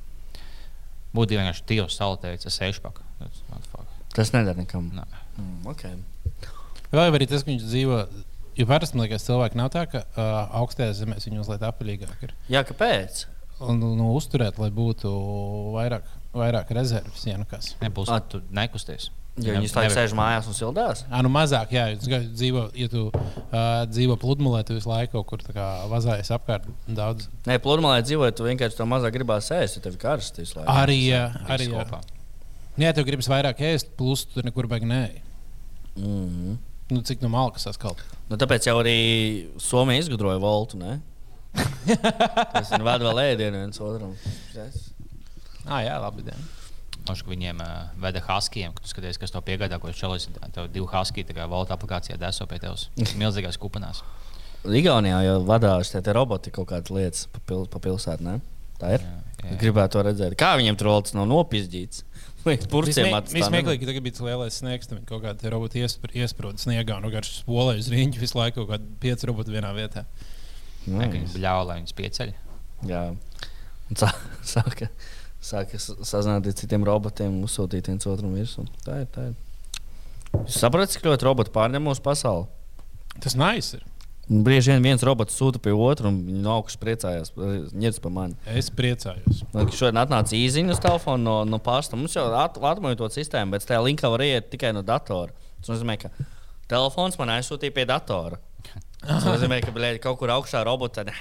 Būtu vienkārši tīrs salotēts, es eju pakaļ. Tas nedara nekam. Nē. Mm, okay. Vēl jau arī tas, ka viņš dzīvo, jo parasti, man liekas, cilvēki nav tā, ka uh, augstajā zemēs viņu uzliek apaļīgāk. ir. Jā, kāpēc? Un nu, uzturēt, lai būtu vairāk, vairāk rezerves, ja nu kas. Nebūs Ah. tā, tu nekusties. Jo Ne- viņi stāv nevar- sēž mājās un sildās. Ā, nu mazāk, jā, jūs kā dzīvo, ja tu uh, dzīvo pludmulē, tu visu laiku kaut kur tā kā vazājies apkārt daudz. Nē, pludmālē dzīvojot, tu vienkārši to mazāk gribās ēst, ja tev ir karsti visu laiku. Arī, jā, arī. Viss jā. kopā. Nu, Jā, tev gribas vairāk ēst, plus tu nekur baigi nē. Mm -hmm. Nu, cik no malas saskalt. nu, tāpēc jau arī Somija izgudroja voltu. *laughs* Ne? Tas ir vēl vēl ēdienu viens otram. Ah, jā, labi. Dien. Nošu, ka viņiem uh, veda haskijiem, kad tu skaties, kas to piegādā, ko čelis tev divu haskiju, tā kā valda aplikācijā deso pie tevis. Milzīgās kupanās. Igaunijā jau vadās tie, tie roboti kaut kādas lietas pa, pil, pa pilsētu. Ne? Tā ir. Jā, Es jā. gribētu to redzēt. Kā viņiem tur volts nav nopizdīts? *laughs* Līdz purcēm Viņš meklēja, atstāja. ka tagad bija tas lielais sniegs, tad viņi kaut kāda robota iespr iesprūda sniegā, no kuras spolē uz rīņķa visu laiku kaut kāda pieci roboti vienā vietā. Nu, Tā kā Viņi bļauj, lai viņus pieceļ. Jā, un sā, *laughs* sāka, sāka s- sazināties ar citiem robotiem, uzsūtīt viens otram virsmu. Tā ir. Tā ir. Jūs saprotat, cik ļoti roboti pārņem mūsu pasauli? Tas nice ir. Un Brīži vien viens robots sūta pie otra, un viņi no augšas priecājās. Ņemts par mani. Es priecājos. Man liekas, Šodien atnāca īsiņa uz telefona no, no pasta. Mums jau at, atmoja to sistēmu, bet tajā linkā var iet tikai no datora. Tas nozīmē, ka telefons man aizsūtīja pie datora. Tas nozīmē, ka blēd, kaut kur augšā robotā ir.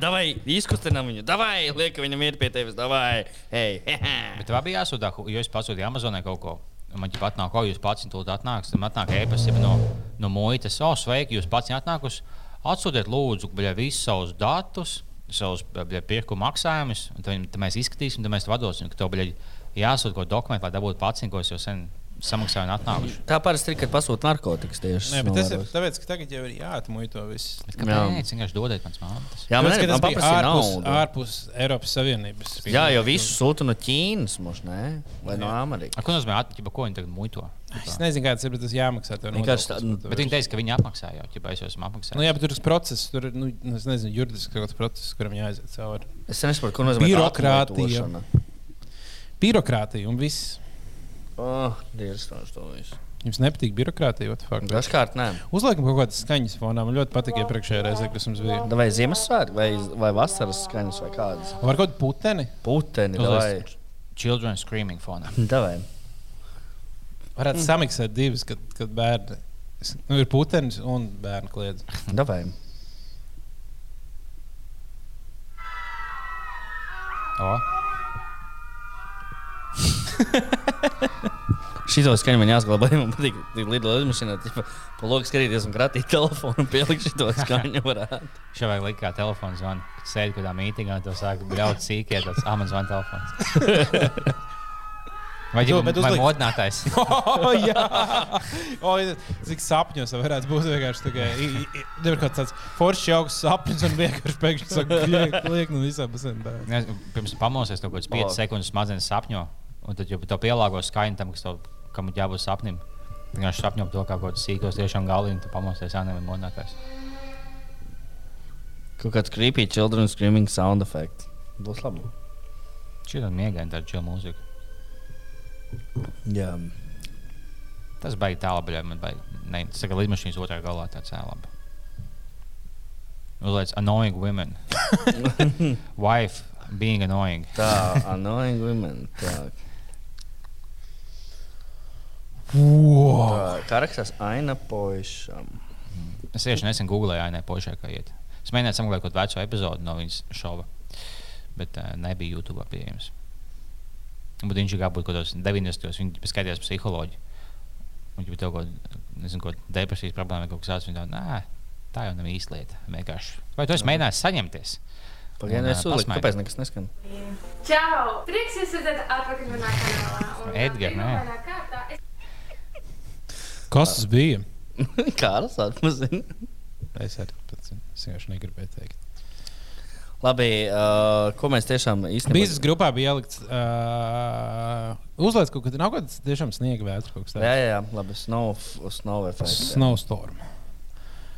Davai, izkustinām viņu, davai, liekam viņam iet pie tevis, davai, hei, hei. Bet tev bija jāsūtā, hu- jo es pasūtīju Amazonē kaut ko. Un Man viņa pat nāk, ko jūs pats tur atnāks. Man nāk ēpasts no, no muitas. O, sveiki, jūs pats atnākus. Atsūtiet, lūdzu, bļa, visus savus datus, savus bļa, pirku maksājumus. un Tad, viņam- tad mēs izskatīsim, tad mēs tev atdosim. ka Tev bļa, jāsūta kaut dokumenti, lai dabūtu pats, ko es jau sen samaksāju un atnākuši. Tā parasti ir, kad pasūta narkotikas tieši. Nē, bet tas ir novēros. tāpēc, ka tagad jau ir jāatmuļ to viss. Bet Kāpēc? Vienkārši dodiet man smāntas. Jā, man liekas, Tāpēc, ka tas tas bija bija ārpus, ārpus Eiropas Savienības. Jā, jau visu sūta no Ķīnas, mož, ne? vai no Amerikas. Ko nozīmē atbildība, ko viņi tagad muito? Es nezinu, kāds ir bet tas jāmaksā. tev Vienkārši tā- nu, nodoklis par to Bet viņi visu. teica, ka viņi apmaksā jau, ja es jau esmu apmaksājis. Nu, jā, bet tur ir tas process, tur ir nu, nu, es nezinu, juridiski kaut kāds process, kuram jāaiziet cauri. Es nesaprotu, ko nozīmē Birokrātija. atkārtošana. Birokrātija un viss. Oh, Dievs, no to visu. Jums nepatīk birokrātija, what the fuck? Dažkārt nē. Uzliekam kaut kādas skaņas fonā. Man ļoti patīk iepriekšējā reizē, kas mums bija. Vai Ziemassvētku, vai, vai vasaras skaņas, vai kādas Var kaut kādu puteni? putekļi, vai Uzliec. Children screaming fonā. davai. Varētu samiksēt divas, kad, kad bērni. es- Nu, ir putenis un bērnu kliedz. davai. O, Šito skaņu man jāsaglabā. Man patīk, ka Lido lidmašīnā tipa, pa logu skatīties un kratīt telefonu *laughs* un pielikt šo skaņu. *laughs* Varētu. šā vajag likt kā telefona zvanu. Kad sēdi kādā mītingā, tad sāk bļaut sīkēt, tas amats zvanu telefons. *laughs* Vai Jo, jau bet tādā uzlikt- modinātājs? Oh, jā, *laughs* oh, cik sapņos tā varētu būt. Vienkārši tā, ka ir kaut kāds tāds foršs, jauks sapnis un vienkārši pēkšņi saka, ka liek no visām pusēm. bērni. Nezinu, Pirms pamosies kaut kāds 5 O. sekundes smadzenes sapņo, un tad jau to pielāgo skaņu tam, kas tev kam ir jābūt sapnim. Viņa sapņo par to, kā kaut kas sīkos tiešām galīgi, un tu pamosies jau nevienu modinātājs. Kaut kāds creepy children screaming sound effect. Būs labi. Šī ir miegaina tāda čila mūzika. Jā. Tas baigi tālu, bet man baigi. Ne, tas ir līdmašīnas otrā galā tāds ēlaba. Uzlaic Nu, annoying women. Wife being annoying. *laughs* Tā, annoying women. Tā, Wow. tā kā rakstās Aina Poišam. Es tieši nesen googlēju, ainē pošai, kā iet. Es mēģināju sameklēt kaut kādu vecu epizodi no viņas šova, bet uh, nebija YouTube pieejams. Bet viņš ir jābūt kaut kādos 90. gados, viņš skatījās psiholoģiju. Viņš bija kaut kāda depresijas problēma, vai kaut kas tāds. Viņa tā, nē, tā jau nav īsta lieta. vienkārši." Vai tu esi mēģinājis saņemties? Un, Pagaidām, ā, es uzliku, pasmaidi. kāpēc nekas neskan. *laughs* Čau! Prieks jūs redzēt atpakaļ manā kanālā. Un, ā, Edgar, nē. pirmā kārtā es- Kas tas bija? Kādas atmazina? Es arī pats zinu. Es vienkārši negribēju teikt. Labi, uh, ko mēs tiešām Bīzes īstenībā. grupā bija ielikts, uh, uzlaiž kaut kāda, nav kaut kāds tiešām sniega vētras kaut kas Jā, tāds. jā, jā, labi. Snow, snow effect. jā. Snowstorm.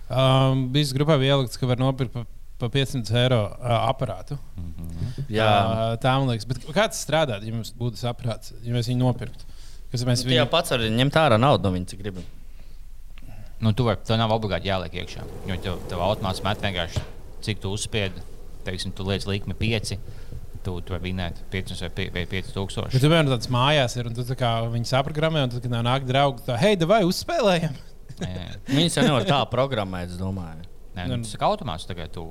Um, Bīzes grupā bija ielikts, ka var nopirkt pa, pa 500 eiro uh, aparātu. Jā, Uh, tā man liekas. Bet kāds strādāt, ja mums būtu saprāts, ja mēs viņu nopirktu? Kas mēs tas bija. Jā, viņu... pats var ņemt ārā naudu no viņa, cik gribi. Nu, tu vari, tev nav obligāti jāliek iekšā. Jo tev, tev automāts met vienkārši, cik tu uzspiedi. Teiksim, tu liec likmi 5, tu, tu vari vinēt 5 vai pi- vai 5000. Bet tu vienmēr tāds mājās ir, un tu tā kā viņi saprogrammē, un tad, kad nāk draugi, tā, hei, vai uzspēlējam? Viņas jau nevar tā programmēt, es domāju. Nē, nu, tas ir automāts tagad. Tu.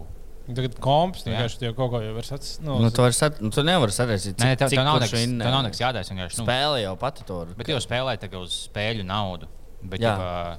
Un Tagad komps, Jā. vienkārši tu jau kaut ko jau var sacīt. Nu, Nu, tu, sat... nu, tu nevari sadarboties. Nē, tev, tev nav nekas, tev nav nekas jādara. vienkārši, Nu, Spēle jau pati to var. bet jau spēlē tagad uz spēļu naudu. Bet, Jā. jā.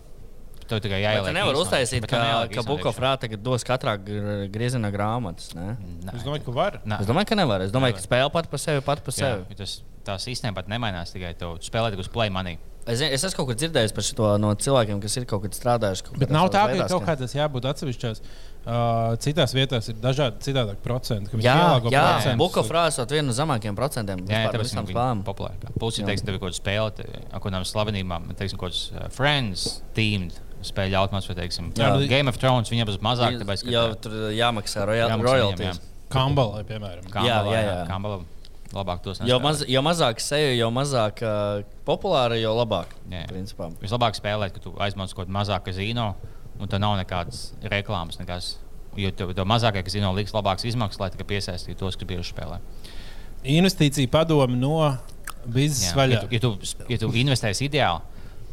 Tev tikai Bet jāieliek. Tu nevari īsnaudu. uztaisīt, Bet tev ka, jāieliek ka īsnaudu Buko iekšā. Frāta tagad dos katrā gr- griezienā grāmatas. Ne? Nē. es domāju, ka var. Nē. Es domāju, ka nevar. Es domāju, Nevar. ka spēle pati par sevi, pati par Jā, sevi. jo tas- Tā sistēma pat nemainās, tikai tu spēlē tikai uz play money. Es, zinu, es esmu kaut kur dzirdējis par šo no cilvēkiem, kas ir kaut kad strādājuši. Kaut Bet kādās nav savās tā, ka veidās, kaut kādās jābūt atsevišķās. Uh, citās vietās ir dažādi citādi procenti. ka viņi Jā, pielāgo jā procentus. Buka frāze ir viena no zemākajiem procentiem. Jā, jā vispār par tāpēc visām viņi spēlēm. ir populāri. Plus, ja Jā. teiksim, tev ir kaut kāda spēle, te- ar kādām slavenībām, teiksim, kaut kāds uh, Friends team spēļu automāts, vai, teiksim, Jā, jā, bet- Game of Thrones, viņiem būs mazāk, tāpēc, ka jau tā- tur eh, jāmaksā jāmaksā royalties. viņiem, Kambalai, piemēram. jā. Jā, Kambalā, jā, jā, jā. Kambalā labāk tos Jo, nespēlē. maz, jo mazāk seju, jo mazāk uh, populāra, jo labāk. Jā. Principā. Vislabāk spēlēt, kad tu aizmācies kaut kādā mazā kazino. un tur nav nekādas reklāmas. Nekas. Jo to, to mazākie, kas zina, liks labākas izmaksas, lai tikai piesaistītu tos, kas bijuši spēlē. Investīcija padomu no biznesa ja vaļā. tu, ja tu, s- ja tu investēsi ideāli,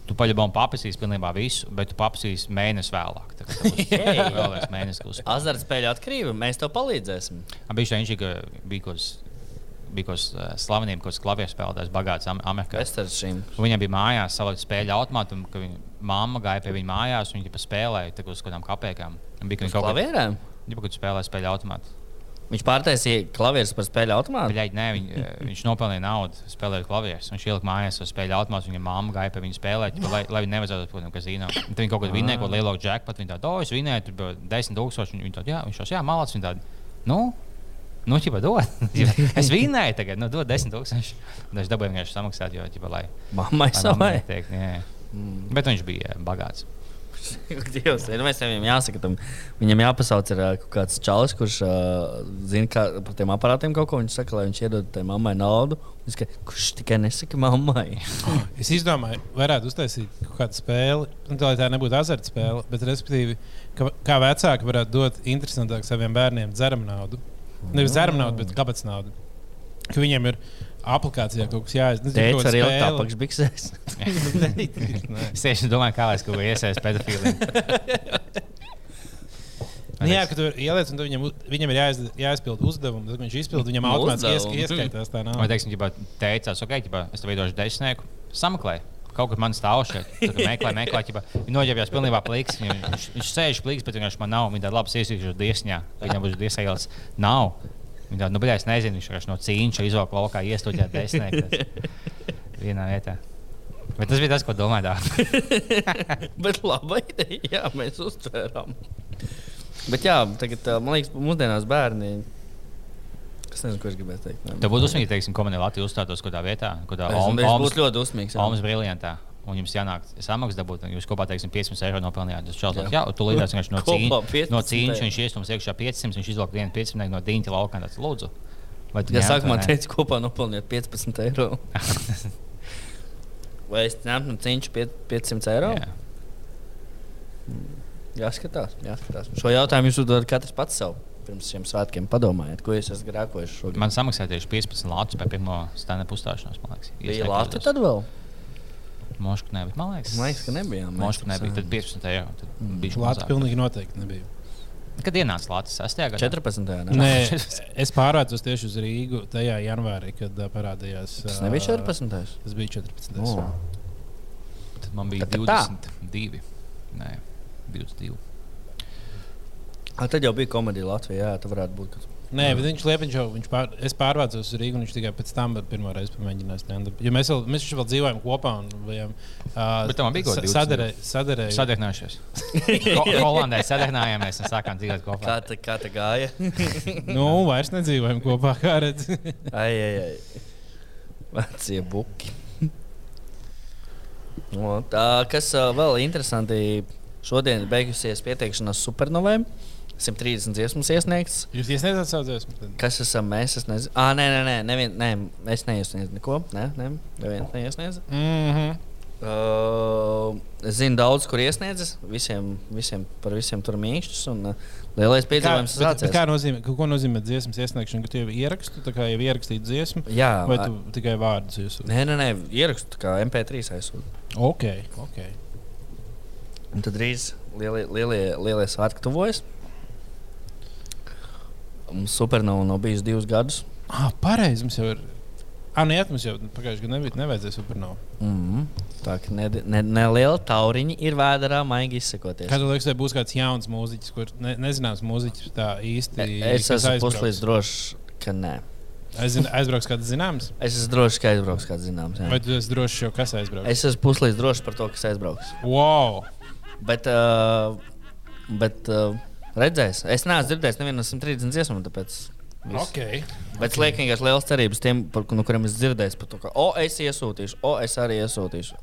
tu paļāvā un papasīsi pilnībā visu, bet tu papasīsi mēnesi vēlāk. Tā kā tev būs vēl viens mēnesis, kurš Azartspēļu atkarība, mēs tev palīdzēsim. bija šeit īņķis, ka bija kaut kas. Bija kaut kas slavenīgs, kaut kas klavieru spēlētājs, bagāts Am- Amerikā. Vesteršīm. Un Viņam bija mājās savā spēļu automātā, un ka viņa mamma gāja pie viņa mājās, un viņa pa spēlēja tā kā uz kaut kādām kapekām. Un Bija ka viņa kaut kāda Klavierēm? līnija, kad spēlēja spēļu automātu. Viņš pārtaisīja klavierus par spēļu Ah. automātu. Viņai, nē, viņ, viņš nopelnīja naudu, spēlēja klavierus. Viņš ielika mājās uz spēļu automātu, viņa mamma gāja pie viņa spēlēt, ķipa, lai, lai viņa nevajadzētu būt kazino. Un Tad viņa kaut Ah. kādā vinnēja, ko lielāku džeku pat viņa tādu, oh, es vinnēju, tur bija 10 tūkstoši. Viņa tāda, jā, viņš tos, jā, malāts, viņa tāda, nu, nu, ķipa, *laughs* dod. Ķipa, es vinnēju tagad, nu, dod 10 tūkstoši. Un es dabūju vienkārši samaksāt, jo, ķipa, lai. Mammai lai mamma savai. neteikt, jā, jā. Mm. Bet viņš bija jā, bagāts. *laughs* Dievs, ir mēs viņam jāsaka, tam, viņam jāpasauc ir ā, kaut kāds čalis, kurš uh, zina kā, par tiem aparātiem kaut ko. Viņš saka, lai viņš iedod tai mammai naudu. Viņš saka, kurš tikai nesaka mammai. Es izdomāju, varētu uztaisīt kaut kādu spēli, nu, tā lai tā nebūtu azartspēle, bet respektīvi, ka, kā vecāki varētu dot interesantāk saviem bērniem dzeramu naudu. Nevis dzeramu naudu, bet kāpēc naudu. Ka viņiem ir aplikācijā kaut kas jāizdara. Tēvs arī ir tāpaks biksēs. apakšbiksēs. Es tieši domāju, kā lai es kaut ko iesaistu *laughs* pedofīliem. Nu, jā, ka tu ieliec, un tu viņam, uz- viņam ir jāiz, jāizpild uzdevums. Tad viņš izpild, viņam Nu, automātiski ies, uzdevums. ieskaitās tā Vai Ah. nauda. teiksim, ja teicās, ok, ģibā, es tev veidošu desmitnieku, sameklē. Kaut kur man stāv šeit, *laughs* tur meklē, meklē, ķipa, viņš noģērbjās pilnībā plīks. Viņam, viņš, viņš sēž plīks, bet vienkārši man nav, viņa tāda labas iesīkšas diesņā, viņam būs diesējās, nav. Viņa tāda, nu, bļā, es nezinu, viņš vienkārši no cīņš izvelk laukā iestūģēt desmitnieku vienā vietā. Bet tas bija tas, ko domāju. tā. Bet labi, jā, mēs uztvērām. Bet jā, tagad, ā, man liekas, mūsdienās bērni. Es nezinu, ko es gribēju teikt. Tev būtu uzsmīgi, teiksim, ko man ir Latvija uzstātos kādā vietā, kādā Es Om- domāju, Omas- būs ļoti uzmīgs. jā. Almas briljantā. Un jums jānāk samaksa dabūt, un jūs kopā, teiksim, 500 eiro nopelnījāt. Tas čels, jā, tu lidās vienkārši no *laughs* Kopā cīņas. 500 No cīņas eiro. viņš iestums iekšā 500, viņš izvelk vienu 500 no dīņa laukā. Tāds, lūdzu, vai tu Ja ņemtu vai sākumā nē? teica, kopā nopelniet 15 *laughs* eiro. Vai es ņemtu no cīņas 500 eiro? Jā. Jāskatās, jāskatās. Šo jautājumu jūs uzdodat katrs pats sev. Pirms šiem svētkiem padomājiet, ko jūs esat grēkojuši šogad. Man samaksāja tieši 15 lāčus pie pirmā stāna pustāšanās, man liekas. Ja es bija nekļūdos. lāti tad vēl. Mošku nebija, man liekas. Man liekas, ka nebijām. mēs Mošku nebija, tad sākām. 15 eiro. Tad bija Lācis mazāk. pilnīgi noteikti nebija. Kad ienāca lācis 6. gadā? 14. Ne? Nē, *laughs* es pārvācos tieši uz Rīgu tajā janvārī, kad ā, parādījās. Tas ā, nebija 14. Tas bija 14. O. Oh. Tad man bija Tad tā. 22. Nē, 22. A, tad jau bija komēdija Latvijā. Jā, tā varētu būt. Kad... Nē, bet viņš liepa, viņš jau viņš pār, es pārvācos uz Rīgu, un viņš tikai pēc tam bija pirmo reizi pamēģinājis stand-up. Jo mēs, vēl, mēs taču vēl dzīvojam kopā un bijām Bet tev man bija kaut kādi 22. *laughs* sadarējušies. Sadarbinājušies. Ho Holandē sadarbinājāmies un sākām dzīvot kopā. Kā tā, kā tā gāja? Nu, vairs nedzīvojam kopā, kā *laughs* redzat. ai, ai, ai. Vecie buki. No, tā, kas ā, vēl interesanti, šodien ir beigusies pieteikšanās supernovai. 130 dziesmas iesniegts. Jūs iesniedzat savu dziesmu? Kas esam mēs? Es nezinu. Ah, nē, nē, nē, nevien, nē es neiesniedzu neko. Nē, nē, neviens neiesniedz. Mm -hmm. Uh, es zinu, daudz kur iesniedzis. Visiem, visiem par visiem tur mīkšķus. Un uh, lielais piedzīvojums Kā, bet, bet sācies. kā nozīmē, ko nozīmē dziesmas iesniegšana, ka tu jau ierakstu, tā kā jau ierakstīji dziesmu, Jā, vai tu tikai vārdus iesūti? Nē, nē, nē, ierakstu kā MP3 aizsūtu. Ok, ok. Un tad drīz lielie, lielie, lielie svētki tuvojas. Mums supernovā nav bijis divus gadus. Ah, pareizi. Mums jau ir. Ah, nē, mums jau pagājušajā gadā nebija. Nevajadzēja supernovu. Mm -hmm. Tā kā neliela ne, neliela tauriņa ir vēdā, maigi izsakoties. Kādu laiku būs kāds jauns mūziķis, kur ne, nezināms mūziķis tā īsti. E, Es kas esmu aizbrauks. puslīdz drošs, ka nē. Aizin- Aizbrauks kāds zināms, Es esmu drošs, ka aizbrauks, kā zināms. vai Jā. tu esi drošs jau kas aizbrauks? Es esmu puslīdz drošs par to, kas aizbrauks. Wow! Bet, uh, bet uh, redzēs, es neesmu dzirdējis nevienu no 130 dziesmām, tāpēc. viss. Okay. Bet es lieku vienkārši liels cerības tiem, par, ku- no kuriem es dzirdēju, par to, ka, o, es iesūtīšu, o, es arī iesūtīšu.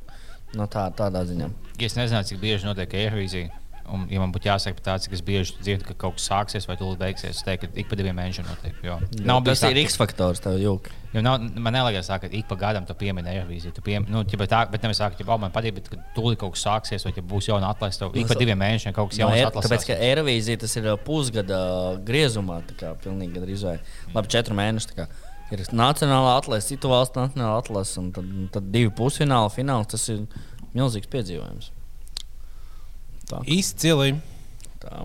No tā, tādā ziņā. Ja Es nezināju, cik bieži notiek aerobīzija. Un, ja man būtu jāsaka, par tāds, cik es bieži dzirdu, ka kaut kas sāksies vai tūlīt beigsies, es teiktu, ka ik pa diviem mēnešiem notiek. Jo. Nav bijis Nu, tas tā, ir X faktors, tev jūka. Jo nav, man liekas, ka ik pa gadam tu piemini Eirovīziju. Tu piemini, nu, ķipa tā, bet nevis sākt, ka oh, man patīk, bet kad tūlīt kaut kas sāksies, vai ja būs jauna atlaista. tev Nu, Ik pa diviem mēnešiem kaut kas No, jauns Ei- atlasās. tāpēc, ka Eirovīzija tas ir uh, pusgada griezumā, tā kā pilnīgi gandrīz vai labi četru mēnešu. tā kā. Ir nacionāla atlase, citu valstu nacionāla atlase, un tad, tad divi pusfināli, fināls. Tas ir milzīgs piedzīvojums. Izcili. Tā.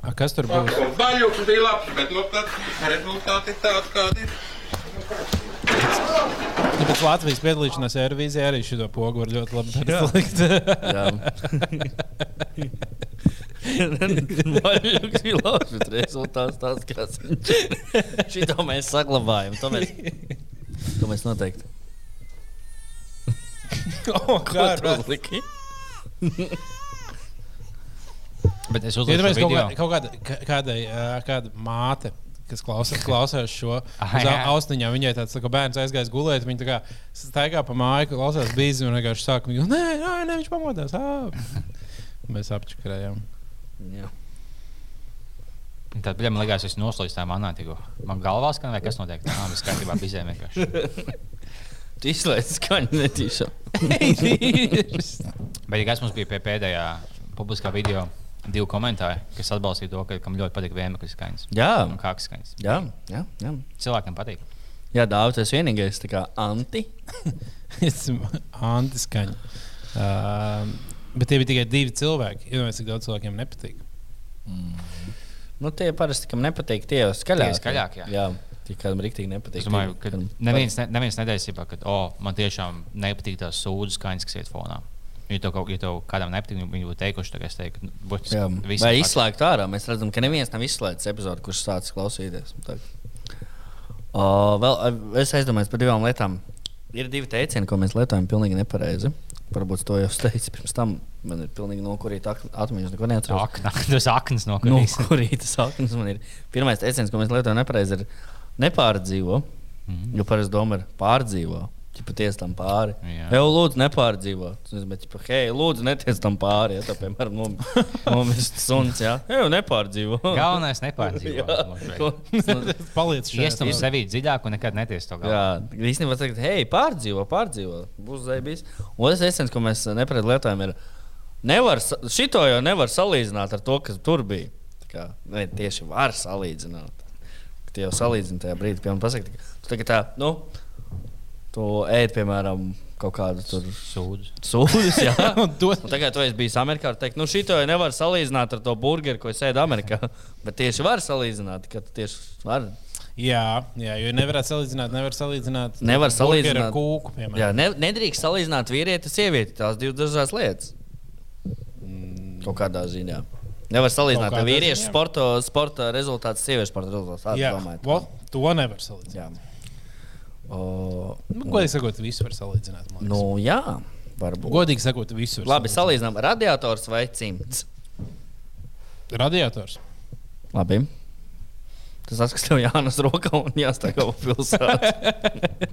A, Kas tur būs? Baļķis bija labs, bet nu, tad rezultāti tādi, kādi ir. Nu, pēc Latvijas piedalīšanās Eirovīzijā arī šo pogu var ļoti labi *laughs* redzēt. *laughs* Jā, Vaļuks bija labs, bet rezultāts tāds, kāds viņš ir. *laughs* Šito mēs saglabājam. To mēs, to mēs noteikti. Ko tu uzliki? Bet es Iedomājieties, uzlieku to kaut, kā, video. kaut kādai, kā- kādai ā, kāda māte. Kas *laughs* klausās, klausās šo Ah, uz jā. au- austiņām. Viņai tāds tā kā bērns aizgājis gulēt. Viņa tā kā staigā pa māju, klausās bīzi un vienkārši sāk. Viņa, nē, nē, nē, viņš pamodās. ā." Mēs *laughs* apčakarējām. Jā. Tad, bļa, man liekas, es noslēdzu tā manā tīko. Man galvā skan, vai kas notiek? Nā, mēs kārtībā bizēm *laughs* vienkārši. Tu izslēdz skaņu *laughs* netīšām. Bet, ja kas mums bija pie pēdējā publiskā video, divi komentāri, kas atbalstīja to, ka kam ļoti patīk vienmēr skaņas. Jā, Un kā skaņas. jā, jā. jā. Cilvēkiem patīk. Jā, Dārvids, tas vienīgais, tā kā anti. Esmu antiskaņa. Uh, bet tie bija tikai divi cilvēki. Iedomājieties, cik daudz cilvēkiem nepatīk. Nu, tie parasti, kam nepatīk, tie jau skaļāk. Tie skaļāk, jā. jā. Tie kādam rīktīgi nepatīk. Es domāju, Tie, ka kam- neviens, ne, neviens nedēļasībā, ka oh, man tiešām nepatīk tās sūdzības skaņas, kas iet fonā. Ja tev, kaut- ja tev kādam nepatīk, nu, viņi būtu teikuši, tagad es teiktu, nu, būs Jā, viss vai izslēgt ārā? Mēs redzam, ka neviens nav izslēdzis epizodi, kurš sācis klausīties. Tā. O, vēl, a, es aizdomājos par divām lietām. Ir divi teicieni, ko mēs lietojam, pilnīgi nepareizi. Varbūt to jau *laughs* es teicu pirms tam. Man ir pilnīgi nokurīta ak- atmiņa, es neko neatceros. Akna, *laughs* tas aknas Nu, nokrīt. kur ir tas saknes? Pirmā teiciens, ko mēs lietojam, nepareizi ir nepārdzīvo. Mhm. Mm. Jo parasti doma ir pārdzīvo. Ja patiesi tam pāri. Jā. Jau lūdzu, nepārdzīvo. Tas nozīmē, ka, hei, lūdzu, netiec tam pāri. Ja, tā, piemēram, *laughs* nom- nomest suns. Jā, jau nepārdzīvo. Galvenais *laughs* *laughs* nepārdzīvot. nepārdzīvo. Paliec šeit. Iestāties sevī dziļāk un nekad neties to galā. Jā, īstenībā tas ir, hei, pārdzīvo, pārdzīvo. Būs zēbīs. Otrs esens, ko mēs nepareizi lietojam, ir, nevar, sa- šito jau nevar salīdzināt ar to, kas tur bija. Tā Kā, ne, tieši var salīdzināt. Tie jau salīdzina tajā brīdī, piemēram, pasakot, tu tagad tā, nu, tu ēd, piemēram, kaut kādu tur Sūdzības. sūdus, jā. *laughs* Un dod- Un tagad, kad es biju Amerikā, tad teikt, nu, šī jau nevar salīdzināt ar to burgeru, ko es ēdu Amerikā. Bet tieši var salīdzināt, ka tu tieši var. Jā, jā, jo nevar salīdzināt, nevar salīdzināt. Nevar burgeru salīdzināt. ar kūku. Piemēram. Jā, ne, nedrīkst salīdzināt vīrieti un sievieti. Tās divas dažādas lietas. Kaut kādā ziņā. Nevar salīdzināt Kaut kādā vīriešu ziņā. sporta, sporta rezultātu, sieviešu sporta rezultātu. Jā, jā. domāju, Vo, to nevar salīdzināt. jā. O, Nu, ko es saku, visu var salīdzināt. man liekas. nu, jā, varbūt. Godīgi sakot, visu var. Labi, salīdzinām radiators vai cimds. salīdzināt. Radiators. Labi. Tas tas, kas tev jānes rokā un jāstāv *laughs* pa pilsētu.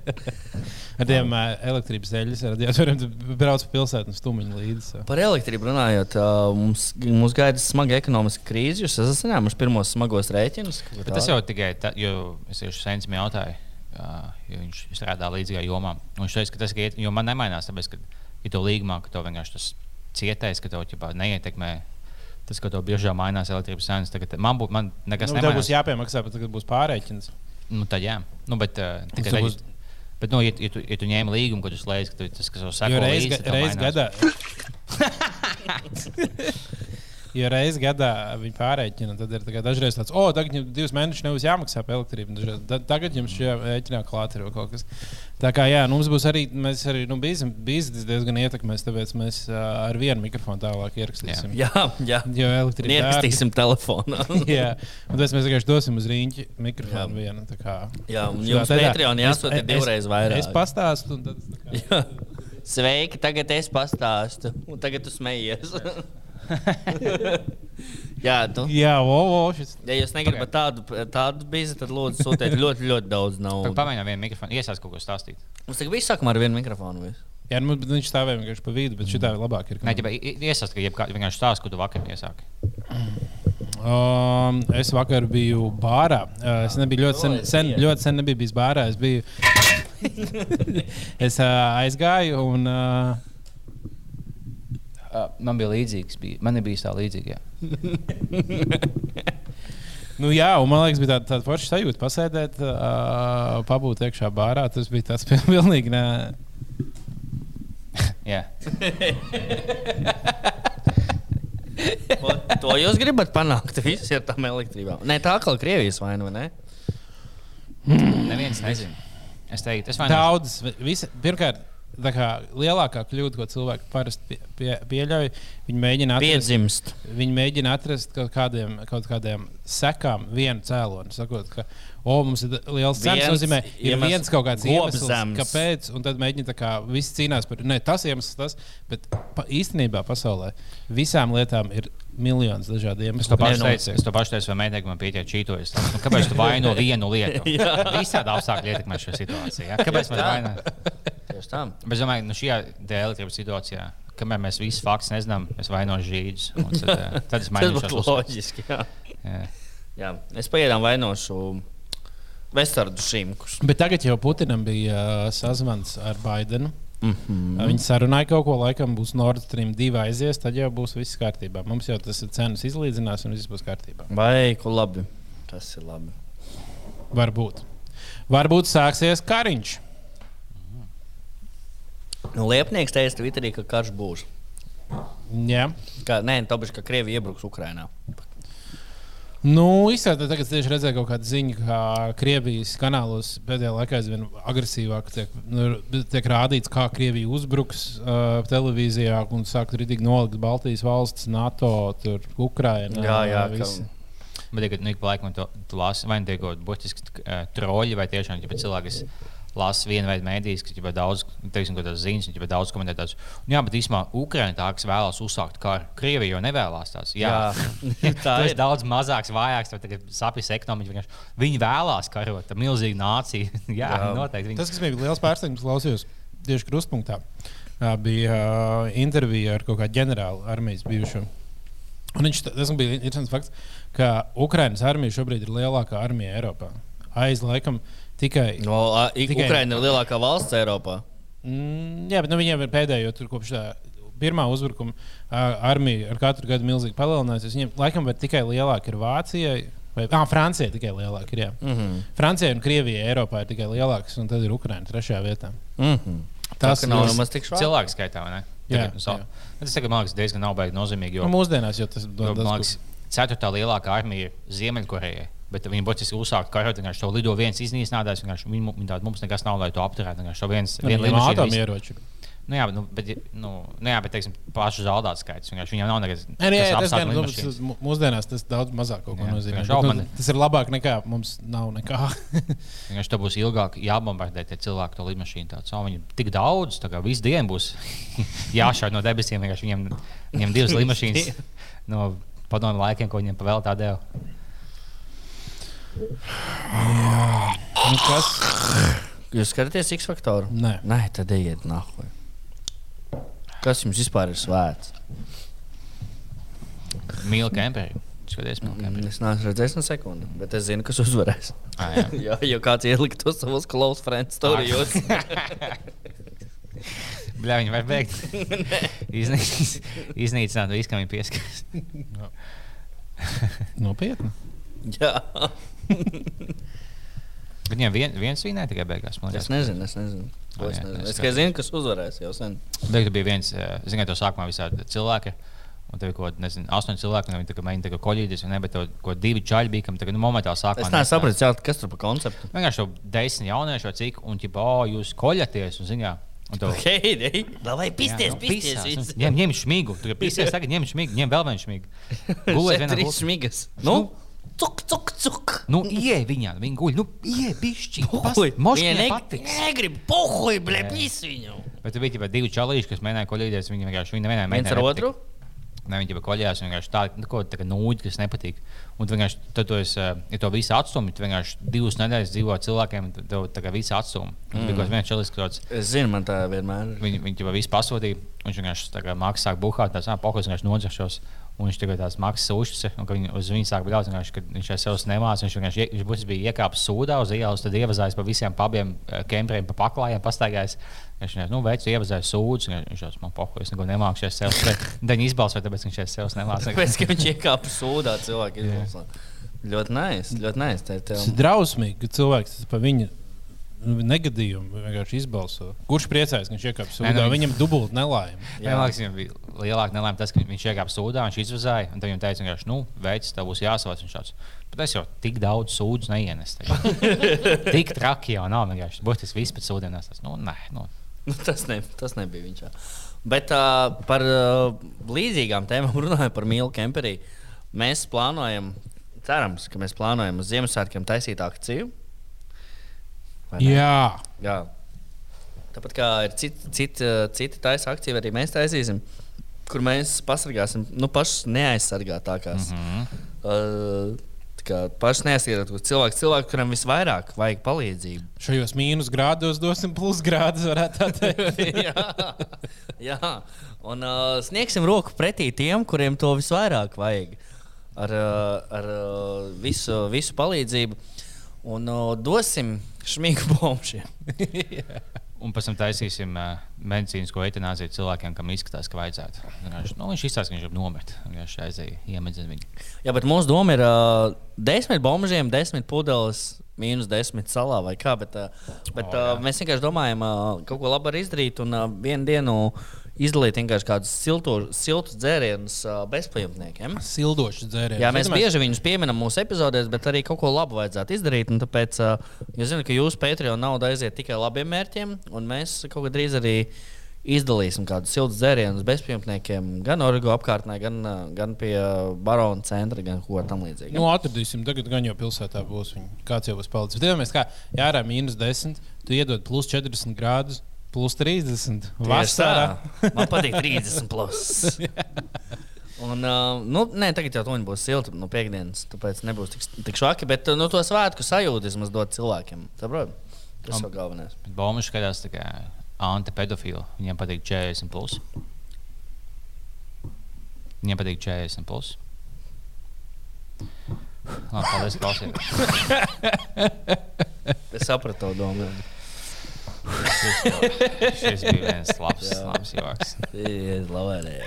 Ar tiem ā, elektrības eļļas radiatoriem tu brauc pa pilsētu un stumiņu līdzi. so. Par elektrību runājot, ā, mums, mums gaida smaga ekonomiska krīze. Jūs esat saņēmuši pirmos smagos rēķinus. Bet tas jau tikai tad, jo es tieši sensim jautāju, ā, jo viņš strādā līdzīgā jomā. Un Viņš teica, ka tas ir, jo man nemainās, tāpēc, ka ir to līgumā, ka tev vienkārši tas cietais, ka tev ķipā, neietekmē tas, ka tev biežāk mainās elektrības cenas. Tagad Man, bū, man nekas Nu, nu, tev nemainās. būs jāpiemaksā, bet tagad būs pārreikins. Nu, tad jā, nu, bet uh, tikai tev tad. būs- Būs... Bet, nu, ja, ja, tu, ja tu ņēmi līgumu, ko tu slēdz, tad tas, kas jau saka, Jo reiz, ga, reiz gadā. Jo reizes gadā viņi pārreķina, tad ir tā kā dažreiz tāds, oh, tagad jums divus mēnešus nebūs jāmaksā par elektrību. un dažreiz, "Da- Tagad jums šajā rēķinā klāta ir vēl kaut kas. Tā kā jā, nu, mums būs arī, mēs arī nu, bijām diezgan ietekmēs, tāpēc mēs ā, ar vienu mikrofonu tālāk ierakstīsim. *laughs* Jā, jā. Jo elektrība ir Ierakstīsim *laughs* telefonā. dārga. Jā, un tāpēc mēs vienkārši dosim uz rīņķi mikrofonu Jā. vienu. tā kā. Jā, un Šitā jums tādā- Patreon es- jāsūta es- divreiz vairāk. Es pastāstu, un tad. tā *laughs* kā- Jā. Sveiki, tagad es pastāstu. Un tagad tu smējies. *laughs* Jā, tu. Jā, o, o, šis. Ja jūs negribat tādu, tādu bizi, tad lūdzu sūtiet ļoti, ļoti daudz naudas. Pamēģinām vienu mikrofonu, iesāc kaut ko stāstīt. *laughs* Mums tagad viss sākumā ar vienu mikrofonu. viss. Jā, nu, bet viņš stāvēja vienkārši pa vidu, bet šī tā ir labāka. Nē, jau iesaistīt, ka jebkā- vienkārši stāsta, ko tu vakar iesāki. Um, es vakar biju bārā. Uh, es nebiju ļoti sen, sen, ļoti sen nebiju bijis bārā. Es, biju... *laughs* es uh, aizgāju un. Uh, Uh, man bija līdzīgs, bija, man nebija tā līdzīga. Nu, jā, un man liekas, bija tāda, tāda forša sajūta pasēdēt, uh, pabūt iekšā bārā. Tas bija tāds *laughs* pil- pilnīgi ne. Jā, Ko- To jūs gribat panākt visi ar tām elektrībām. Nē, tā kā Krievijas vaina, vai ne? neviens nezina. Es nu- teiktu, tas vainās. Daudzas, visa, pirmkārt, tā kā lielākā kļūda, ko cilvēki parasti pie, pie, pieļauj, viņi mēģina atrast, Piedzimst. viņi mēģina atrast kaut kādiem, kaut kādiem sekām vienu cēloni. Sakot, ka, o, mums ir liels cenas, Viens nozīmē, ir iemesls- viens kaut kāds iemesls, gobzems. kāpēc, un tad mēģina tā kā visi cīnās par, ne, tas iemesls tas, bet pa, īstenībā pasaulē visām lietām ir miljons dažādu Es iemeslu. to pašu kāpēc teicu, es to pašu teicu, vai meitene man pieķēra čītojas. Nu, kāpēc tu vaino vienu lietu? *laughs* Visādi apstākļi ietekmē šo situāciju. Jā. Kāpēc man Tā. vaino? Tieši tā. Bet Es domāju, ka nu, šajā elektrības situācijā, kamēr mēs visi faktus nezinām, es vainošu žīdus. un Tad, eh, tad *laughs* es Tas mainīšu būtu šo loģiski. Jā. situāciju. Jā. Es pagaidām vainošu Vestardu šīmkus. Bet tagad jau Putinam bija uh, sazvans ar Baidenu. Mm Mhm. -hmm. Viņi sarunāja kaut ko, laikam būs Nord Stream 2 aizies, tad jau būs viss kārtībā. Mums jau tas cenas izlīdzinās un viss būs kārtībā. Vai, ko labi. Tas ir labi. Varbūt. Varbūt sāksies kariņš. Nu, Liepnieks teica Twitterī, ka karš būs. Jā. Kā, nē, tāpēc, ka Krievija iebruks Ukrainā. Nu, izskatās, tagad tieši redzēju kaut kādu ziņu, ka Krievijas kanālos pēdējā laikā aizvien agresīvāk tiek, nu, tiek rādīts, kā Krievija uzbruks uh, televīzijā un sāk ritīgi nolikt Baltijas valsts, NATO, tur, Ukraina. visi. ka- Man liekas, nu, ik pa laikam to tu lasi, vai nu tiek kaut kādi būtiski eh, troļi, vai tiešām ķipa, cilvēki, kas lasa vienu veidu mēdīs, ka ķipa, daudz, teiksim, kaut kādas ziņas, un ķipa, daudz komentē tās. "Nu Jā, bet īstenībā Ukraiņa tā, kas vēlas uzsākt karu, Krievija jau nevēlas tās. Jā, Jā. *laughs* Tā tā ir. ir daudz mazāks, vājāks, vai tagad sapnis ekonomiski. vienkārši. Viņi vēlās karot, tā milzīga nācija. *laughs* jā, jā, Jā. noteikti. Viņi... Tas, kas bija liels pārsteigums, klausījos tieši krustpunktā. ā, Bija uh, intervija ar kaut kādu ģenerāli armijas bijušo. Un viņš, tas man bija interesants fakts, ka Ukraiņas armija šobrīd ir lielākā armija Eiropā. Aiz laikam tikai. No, a, ik- Tikai- Ukraina ir lielākā valsts Eiropā. Mm, jā, bet nu, viņiem ir pēdējo tur kopš tā. Pirmā uzbrukuma ā, armija ar katru gadu milzīgi palielinājusies. Viņam laikam vēl tikai lielāka ir Vācijai, vai ah, Francijai tikai lielāka ir. Jā. Mm -hmm. Francijai un Krievijai Eiropā ir tikai lielākas, un tad ir Ukraiņa trešajā vietā. Mm -hmm. Tas ka ir nav ļoti- nemaz tik šādi. cilvēku skaitā, vai ne? Jā, Tagad, nu, so, jā. tas tagad, man liekas, diezgan nav baigi nozīmīgi. Jo... Nu, mūsdienās jau tas Jo, ir Man liekas, ceturtā lielākā armija ir Ziemeļkorejai. Bet viņi būtiski uzsāka karu. Vienkārši to lido viens iznīcinājās. Vienkārši viņu- viņi tādu mums nekas nav, lai to apturētu. Vienkārši to viens Viņam ir lidmašīna atomu visu- ieroči. Nu, jā, bet, nu, bet, nu, nu, jā, bet teiksim, pašu zaudātu skaits. Vienkārši Viņam nav nekas Nē, nē, kas tas apstākļu gan, nu, tas, lidmašīnas. tas mū- mūsdienās tas daudz mazāk kaut ko Jā, nozīmē. vienkārši Bet, Nu, apmane. tas ir labāk nekā mums nav nekā. *laughs* Vienkārši tur būs ilgāk jābombardē tie cilvēki, to lidmašīnu. Tāds, oh, viņam tik daudz, tā kā visu dienu būs *laughs* jāšauj no debesīm. Vienkārši Viņiem, viņiem divas lidmašīnas no padomu laikiem, ko viņiem pavēl tādēļ. nu, kas? Jūs skatāties X faktoru? Nē. Nē, tad ejiet nākamajā. Kas jums vispār ir svēts? Mīlu kemperi. Skaties, mīlu Mm. kemperi. Mm, Es neesmu redzējis no sekundes, bet es zinu, kas uzvarēs. Ah, jā. Jā, jau kāds ielikt to savos close friend *laughs* storijos. *laughs* Bļā, viņi var beigt. Iznīc- Iznīcināt visu, kam viņi pieskaras. Nopietni. *laughs* Jā, Viņam vien, viens vīnē tikai beigās. Man liekas, es nezinu, es nezinu. To Ah, Es, jā, nezinu. es es tikai zinu, kas uzvarēs jau sen. Beigtu bija viens, eh, zinot, to sākumā visādi cilvēki. Un tev ir kaut kāda astoņa cilvēka, un viņi tā kā mēģina tā kā koļīties, un ne, bet tev kaut divi čaļi bija, kam tā kā nu, momentā sākumā. Es nesapratu, jā, kas tur pa *laughs* konceptu. Vienkārši jau desmit jauniešu vai cik, un ķipa, o, jūs koļaties, un ziņā. Un tev, Hei, hei, lai pisties, Jā, nu, pisties. pisās, visi. un Ņem, ņem šmigu, tur ir *laughs* pisties, tagad ņem šmigu, ņem vēl vienu šmigu. nu. Gulēt Šeit vienā trīs gultā. smigas. Nu, cuk, cuk, cuk. Nu, iej viņā, viņa guļ. Nu, iej, bišķi. Pohuj, Mošķi viņai patiks. Negribu, pohuj, blē, Jā. pīs viņu. Bet tur bija tikai divi čalīši, kas mēģināja kolīties. Viņi vienkārši viņi nevienā Viens ar otru? ne viņa jau koļās, vienkārši tā, nu, ko, tā kā nūģi, kas nepatīk. Un tu vienkārši, tad tu esi, eh, ja to visu atstumj, tad vienkārši divas nedēļas dzīvo ar cilvēkiem, tad tev tā kā viss atstumj. Mm. Tikos viens čelis, kas tāds, Es zinu, man tā vienmēr *laughs* ir. viņi, viņi jau visu pasūtīja, un viņš vienkārši tā kā mākslā sāk buhāt, tās apakas vienkārši nodzeršos. Un viņš tagad tās maksas sūšas, un ka viņi, uz viņu sāk bļaut, vienkārši, ka viņš jau sev nemācīja. Viņš vienkārši ie- viņš būs- bija iekāpis sūdā uz ielas, tad ievazājis pa visiem pabiem, eh, kemperiem, pa paklājiem, pastaigājis. Viņš jau nu, veicu ievazājis sūdus, un viņš jau man pohoja, es neko nemāku, es sev *laughs* deņu izbalsoju, tāpēc viņš jau sev *laughs* nemācīja. Tāpēc, ka viņš iekāpa sūdā, cilvēki izlasā. Ļoti nice, ļoti nice. Tā ir Tas ir tev. drausmīgi, ka cilvēks tas pa viņu nu, negadījumu vienkārši izbalso. Kurš priecājas, ka viņš iekāpa Nē, sūdā? nu, Viņam dubult nelaime. Man liekas, viņam bija lielāka nelaime tas, ka viņš iekāpa sūdā, viņš izvazāja, un tad viņam teica, ka, nu, veids, tev būs jāsavāc. Viņš tāds, bet es jau tik daudz sūdzu neienesu. tagad." *laughs* tik traki jau nav, vienkārši būs tas viss pēc sūdienās. Tas, nu, nē, nu. Nu, tas, ne, tas nebija viņš. jā. Bet uh, par uh, līdzīgām tēmām *laughs* runājot par mīlu kemperī. Mēs plānojam, cerams, ka mēs plānojam uz Ziemassvētkiem taisīt akciju. Vai ne? Jā, Jā. Tāpat kā ir citi cit, cit taisa akcija, arī mēs taisīsim, kur mēs pasargāsim nu, pašus neaizsargātākās. Mm -hmm. uh, tā kā pašs neaizsargātākos cilvēks, cilvēks, kuram visvairāk vajag palīdzību. šajos mīnus grādos dosim plus grādus, varētu tā teikt. *laughs* jā, jā, un uh, sniegsim roku pretī tiem, kuriem to visvairāk vajag. Ar, uh, ar uh, visu, visu palīdzību. Un uh, dosim šmīgu bombušiem. Un pēc tam taisīsim uh, medicīnisko eitanāziju cilvēkiem, kam izskatās, ka vajadzētu. Vienkārši, Nu, viņš izsaka, ka viņš jau nomet. Viņš aizēja, iemedzina viņu. Jā, bet mūsu doma ir uh, desmit bombuļiem, desmit pudeles, mīnus desmit salā vai kā. Bet, uh, bet O, oh, jā. uh, mēs vienkārši domājam, uh, kaut ko labu arī izdarīt un uh, vienu dienu izdalīt vienkārši kādus siltu- siltus dzērienus uh, bezpajumtniekiem. Sildošs dzēriens. Jā, mēs bieži viņus pieminam mūsu epizodēs, bet arī kaut ko labu vajadzētu izdarīt. un Tāpēc uh, es zinu, ka jūsu Patreon nauda aiziet tikai labiem mērķiem, un mēs kaut kad drīz arī izdalīsim kādu siltu dzērienu bezpajumtniekiem, gan Origo apkārtnē, gan, uh, gan pie uh, barona centra, gan ko tamlīdzīgu. Nu, atradīsim, tagad gan jau pilsētā būs. Viņa. Kāds jau būs palicis? Domājiet, kā jā, ārā mīnus 10, tu iedod plus 40 grādus, plus 30. Vasarā. Man patīk 30 *laughs* plus. Un, uh, nu, nē, tagad jau tā būs silta no piekdienas, tāpēc nebūs tik, tik švaki. Bet uh, nu, to svētku sajūtu vismaz dot cilvēkiem. Saprot? Tas ir galvenais. Bombuļs skatās tā kā antipedofili. Viņiem patīk 40. Plus. Viņiem patīk 40. Plus. Labi, paldies, klausieties. Es sapratu, to *laughs* domāju. Šis bija viens labs, Jā. labs joks. Es labāk.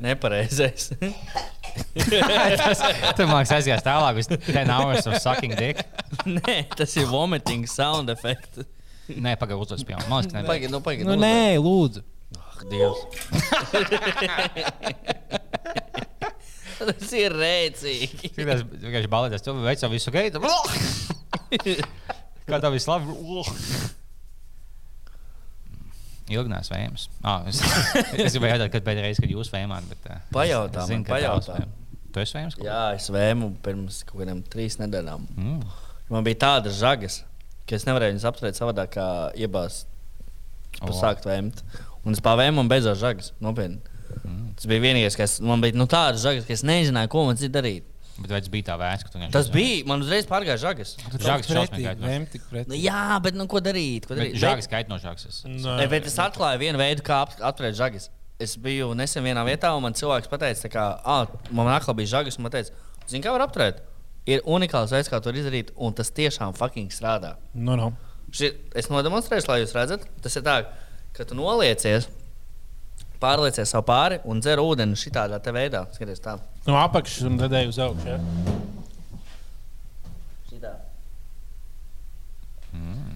Nepareizais. Tas, *laughs* tu mākslinieks aizies tālāk, uz 10 hours of sucking dick. *laughs* Nē, tas ir vomiting sound effect. Nē, pagaidi, uzdos pie manis. Man liekas, Pagaid, nu, pagaid, Nu, nē, lūdzu. Ak, Ah, Dievs. tas ir rēcīgi. ka tas vienkārši balēties. Tu veic savu visu gaitu. Kā tev viss labi? Ilgnās vējams. Ah, es, es gribēju jautāt, kad pēdējā reize, kad jūs vējāt, bet. eh, es- es Pajautā man, ka tavs pajautā. vējam. Tu esi vējams? kaut kur? *laughs* Jā, es vēmu pirms kaut kādiem trīs nedēļām. Mm. Man bija tādas žagas, ka es nevarēju viņas apturēt savādāk, kā iebāzt, O. sākt vēmt. Un es pavēmu un beidzot žagas. Nopietni. Mm. Tas bija vienīgais, kas man bija nu, tādas žagas, ka es nezināju, ko man citi darīt. Bet vai tas bija tā vērts, ka tu vienkārši. Tas bija, man uzreiz pārgāja žagas. Žāks pretī. šausmīgi. Vēm tik Nu, pretī. jā, bet nu, ko darīt? Ko darīt? Žāks skait no žāks. Nu, Bet, bet es atklāju vienu veidu, kā ap- atturēt žagas. Es biju nesen vienā vietā, un man cilvēks teica, ka man aklā bija žagas, un man teica, zini, kā var apturēt? Ir unikāls veids, kā to izdarīt, un tas tiešām fucking strādā. Nu, nu. Šī, es nodemonstrēšu, lai jūs redzat, tas ir tā, ka tu noliecies, pārliecies savu pāri un dzer ūdeni šādā te veidā. Skaties, tā. no apakšas Nu, un tad ej uz augšu. Ja? Šidā.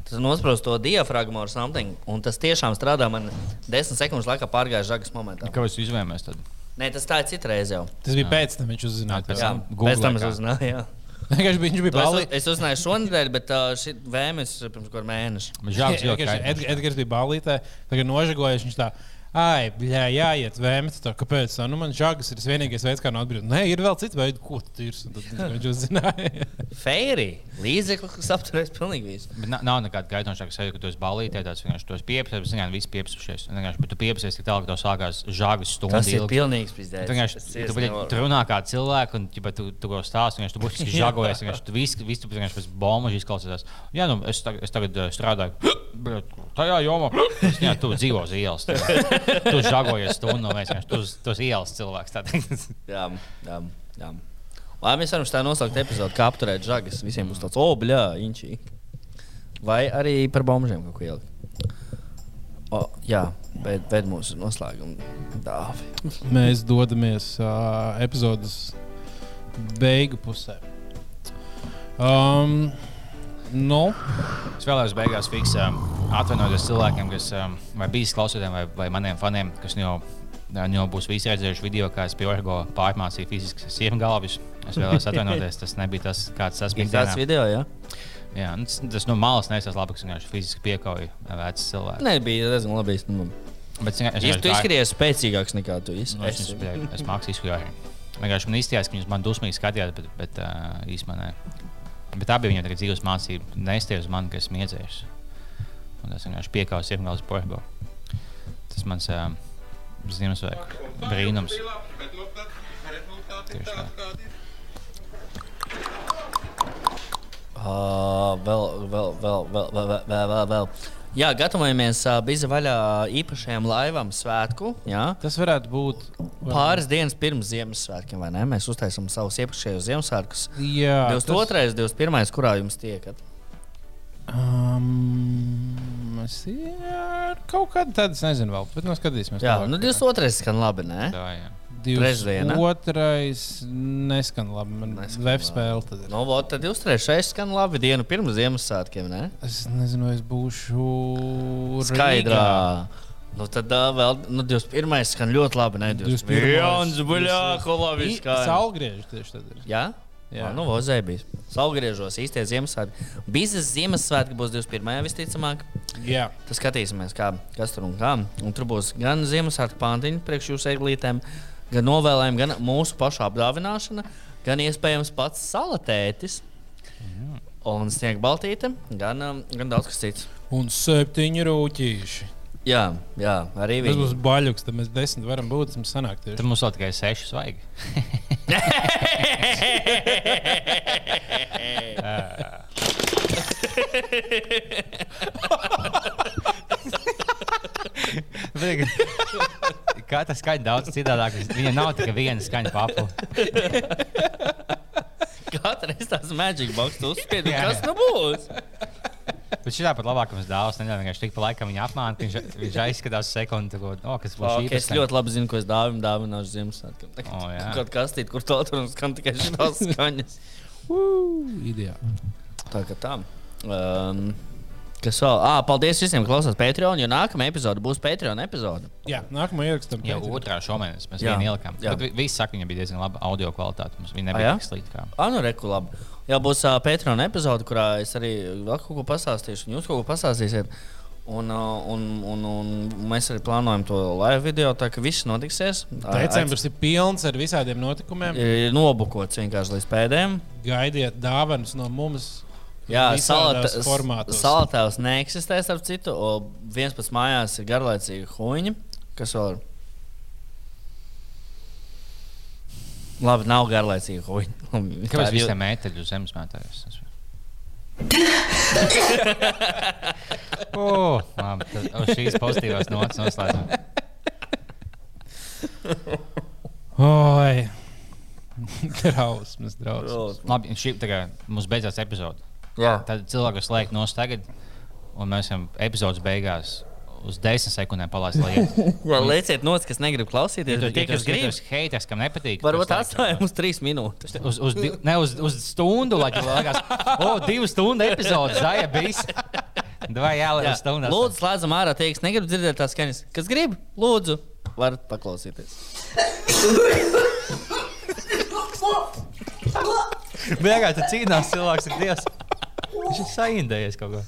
Tas nosprūst to diafragmu or something, un tas tiešām strādā man 10 sekundes laikā pārgājušā žagas momentā. Kāpēc jūs izvēlējāties tad? Nē, tas tā ir citreiz jau. Tas bija pēc tam, viņš uzzināja. Pēc to. Jā, tam pēc Googlē tam es kā. uzzināju. jā. Vienkārši bija- Viņš bija To Es, balīts. uz- es uzzināju šonadēļ, bet uh, šī vēmēs pirms kaut kāda mēneša. Žāks jau *laughs* Edgars kaitinošs. Ed- Edgars bija balītē, tagad nožagojies. Viņš tā Ai, bļā, jāiet vēmt, tā, kāpēc tā? Nu, man žagas ir tas vienīgais veids, kā no atbrīvot. Nē, ir vēl cits veids, ko tu tirsi. un Tad *laughs* viņš jau zināja. Fēri! Līdzekli, kas apturēs pilnīgi visu. Bet na- nav nekāda gaidāmāka sajūta, ka tu esi balīti. Tas vienkārši tos pieprasa, bet zināms, visi piepsušies. Un vienkārši, Bet tu piepsies tik tālu, ka tev sākās žāgas stundas. Tas ir pilnīgs pizdēļ. Tu vienkārši tu biji runā kā cilvēks, un ķipa, tu, tu to stāst. Viņš tur būtiski žagojas. Viņš tur viss vis, tu vienkārši pēc bombas izklausās. Jā, nu es, tag, es tagad eh, strādāju. *gasps* Bet tajā jomā es, jā, tu dzīvo uz ielas. Tu, tu žagojies stundu, un mēs vienkārši tu uz- tu uz ielas cilvēks. tā teikt. *laughs* Jā, jā, jā. Lai mēs varam tā nosaukt epizodi, kā apturēt žagas. Visiem būs tāds, oh, bļā, inčī. Vai arī par bombžiem kaut ko ielikt. O, jā, bet, bet mūsu noslēguma dāvi. Mēs dodamies uh, epizodes beigu pusē. Um, nu, Es vēlējos beigās fiksēt, atvainojos cilvēkiem, kas um, vai bijis klausītājiem, vai, vai maniem faniem, kas jau, jau būs visi redzējuši video, kā es pie Orgo pārmācīju fiziskas siengalvis. Es vēlējos atvainoties, tas nebija tas, kāds tas Ir bija. tāds dienā. video, jā? Jā, nu, tas, tas no malas nesas labi, ka viņš fiziski piekauja vecu cilvēku. Nē, bija diezgan labi. Es, nu, Bet, es, es, tu izskaties spēcīgāks nekā tu esi. Nu, es esi. viņus biju- es mākslinieks izkājēju. Vienkārši man īstenībā, ka viņš man dusmīgi skatījās, bet, bet uh, īstenībā nē. Bet tā bija viņa tagad dzīves mācība. Neizties uz mani, ka esmu iedzēries. Un tas vienkārši piekāpās iemgālis porbo. Tas mans uh, Ziemassvētku brīnums. Bet nu tad rezultāti Tieši tā. tādi, kādi ir. Ā, Ah, vēl, vēl, vēl, vēl, vēl, vēl, vēl, vēl, vēl. Jā, gatavojamies uh, bizi vaļā īpašajam laivam svētku. Jā. tas varētu būt Pāris dienas pirms Ziemassvētkiem, vai ne? Mēs uztaisām savus iepriekšējos Ziemassvētkus. Jā, 22. un 21. kurā jums tiekat? Um, es jā, kaut kādā tādā, es nezinu, vēl, bet noskatīsimies. Jā, tālāk. nu 22. skan labi, ne? Tā, jā. Trešdiena. Otrais neskan labi. Man Neskan liekas, spēle. Tad ir. Nu, vot, tad 23. skan labi dienu pirms Ziemassvētkiem, ne? Es nezinu, vai es būšu Skaidrā. Nu, tad uh, vēl nu, 21. skan ļoti labi, ne? 21. buļbuļsaktas, labi. skan. Saulgriežs tieši tad ir. Jā? Jā, nu, Vozē bija. Saulgriežos īstie Ziemassvētki. Biznes Ziemassvētki būs 21. visticamāk. Jā, Tad skatīsimies, kā, kas tur un kā. Un tur būs gan Ziemassvētku pantiņa priekš jūsu eglītēm, gan novēlējumi, gan mūsu pašu apdāvināšana, gan iespējams pats salatētis. Un sniegt baltīti, gan, um, gan daudz kas cits. un septiņi rūtīši. Jā, jā arī Tas viņi. *laughs* būs baļķis, tad mēs desmit varam būt. Mums sanāk Tad tieši. mums vēl tikai seši *laughs* svaigi. Katra skaņa daudz citādāk. Viņa nav tikai viena skaņa papla. Katra ir tās magic box, tu *laughs* uzspiedi, Jā. kas nu būs. Bet šī tāpat labāk mums dāvās. Neļauj vienkārši tik pa laikam viņa apmānīt. Viņš, viņš aizskatās sekundi, ko, oh, kas būs Ok, šī Es ļoti labi zinu, ko es dāvinu, dāvināšu Ziemassvētkiem. O, Tagad jā. kaut kāda kastīte, kur tā tur skan tikai *laughs* šīs skaņas. Ideāli. Tā kā tā. Um, kas vēl? Ah, paldies visiem, kas klausās Patreon, jo nākamā epizode būs Patreon epizode. Jā, nākamā ierakstam. Jau Patreon. otrā šomēnes mēs Jā. viņu ielikām. Jā. Tad vi- viss saka, viņa bija diezgan laba audio kvalitāte. Mums viņa jā? nebija tik slikta. kā. Ah, nu, reku labi. Jā, būs uh, Patreon epizode, kurā es arī vēl kaut ko pastāstīšu, un jūs kaut ko pastāstīsiet. Un, uh, un, un, un mēs arī plānojam to live video, tā ka viss notiksies. Decembris ir pilns ar visādiem notikumiem. Ir nobukots vienkārši līdz pēdējiem. Gaidiet dāvanas no mums. Jā, Visādās salata- formātos. salatēvs neeksistē, starp citu. o, Viens pats mājās ir garlaicīga huņa. Kas vēl ir? Labi, nav garlaicīga huņa. *laughs* Kāpēc viss ir mēteļu uz zemes mētājus? O, labi, tad uz šīs pozitīvās nots noslēdzam. Oi! *laughs* Drausmas, drausmas. ir? Labi, šī tagad mums beidzās epizode. Jā, Tad cilvēks slēdz no tagad, un mēs esam epizodes beigās. Uz desmit sekundēm palaist līniju. jā lieciet nots, kas negrib klausīties. bet Tie, kas grib, gribas, heiters, kam nepatīk. varbūt tas atstāj laikam- mums trīs minūtes. Uz, uz, di- ne, uz, uz stundu, lai gan likās, o, divu stundu epizode, zaļa bijis. Vai jāliek Jā, uz stundu? lūdzu, slēdzam ārā tie, kas negrib dzirdēt tās skaņas. Kas grib, lūdzu, varat paklausīties. Vienkārši tur cīnās cilvēks ar Dievu. Viņš ir saindējies kaut ko.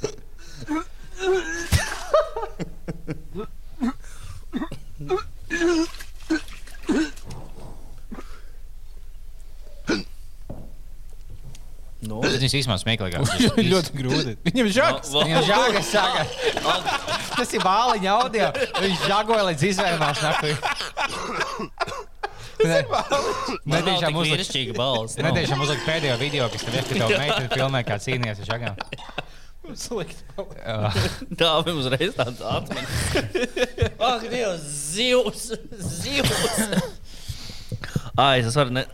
Bet Viņas īstenībā smieklīgākas. Viņš ir *laughs* ļoti grūti. Viņam ir žāks. Viņam žāga saka, tas ir bāliņa audio. Viņš žāgoja līdz izvērmās naktī. Ne, Man nav netiešām tik uzlikt, vīrišķīga balss. nav. netiešām uzlikt pēdējo video, kas tev ir, kad tev meitene filmē, kā cīnījies ar žagām. Uh, Tā bija uzreiz tāds atmiņas. *laughs* Ak, Dievs, zivs! Zivs! Ai, es varu. Ne...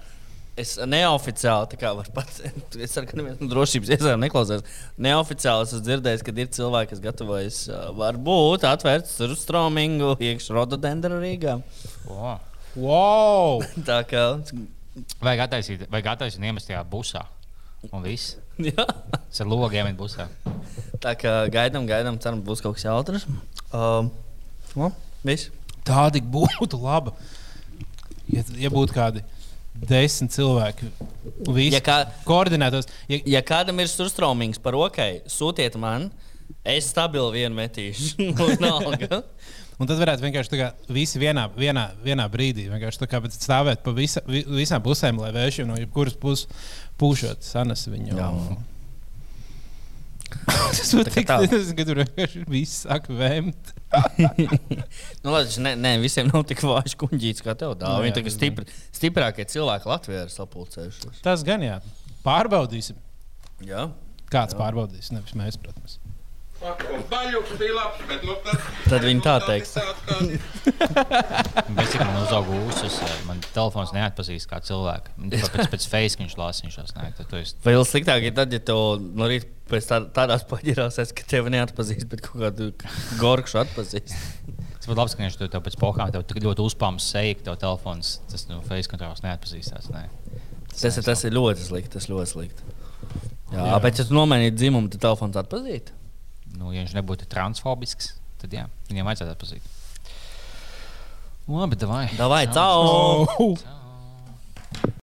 Es neoficiāli, tā kā var pats, es ceru, ka neviens no drošības iestādēm neklausās. Neoficiāli es esmu dzirdējis, ka ir cilvēki, kas gatavojas, ā, varbūt atvērts ar strūmingu, iekšā rododendra Rīgā. o. Wow! Tā kā, *laughs* Vajag attaisīt, vajag attaisīt iemest tajā busā. Un viss. jā, Es ar logiem iet busā. tā kā gaidām, gaidām, ceram, būs kaut kas jautrs. Um, nu, viss. Tāda būtu laba. Ja, ja būtu kādi desmit cilvēki, visi Ja ja kā... kā- koordinētos, ja, Ja kādam ir surstrāmīgs par ok, sūtiet man, es stabilu vienu metīšu. *laughs* Vienalga. un tad varētu vienkārši tā kā visi vienā, vienā, vienā brīdī vienkārši tā kā bet stāvēt pa visa, vi, visām pusēm, lai vēršiem no jebkuras puses pūšot sanas viņu. Jā. *laughs* Tas var Tā kā tikt, tā. tas, ka tur vienkārši viss sāk vēmt. nu, labi, ne, ne, visiem nav tik vāji kuģīts kā tev. Nu, Dāvā. jā, Viņi tagad tas stipri, stiprākie cilvēki Latvijā ir sapulcējušies. Tas gan jā. Pārbaudīsim. Jā. Kāds pārbaudīs, nevis mēs, protams. Baļķis bija labs, bet nu tas. Tad viņi tā teiks. Bet cik man uzauga ūsas, eh, man telefons neatpazīst kā cilvēku. Un tikai Pēc, pēc face, ka viņš lasa, viņš lasa. Nē, tad tu esi Vēl sliktāk ir tad, ja tu no rīta pēc tā, tādās paģirās esi, ka tevi neatpazīst, bet kaut kādu gorkšu atpazīst. Tas bija labi, ka viņš to tev pēc pohām tev tik ļoti uzpams seja, ka tev telefons, tas no nu, face kontrols neatpazīstās. Nē. Tas ir, tas ir ļoti slikti. Tas ļoti slikti. Jā, jā. bet ja tu nomainīji dzimumu, tad telefons atpazīst. Nu, ja viņš nebūtu transfobisks, tad jā, viņam vajadzētu atpazīt. Labi, davai. Davai, cau! *laughs* Oh. Cau.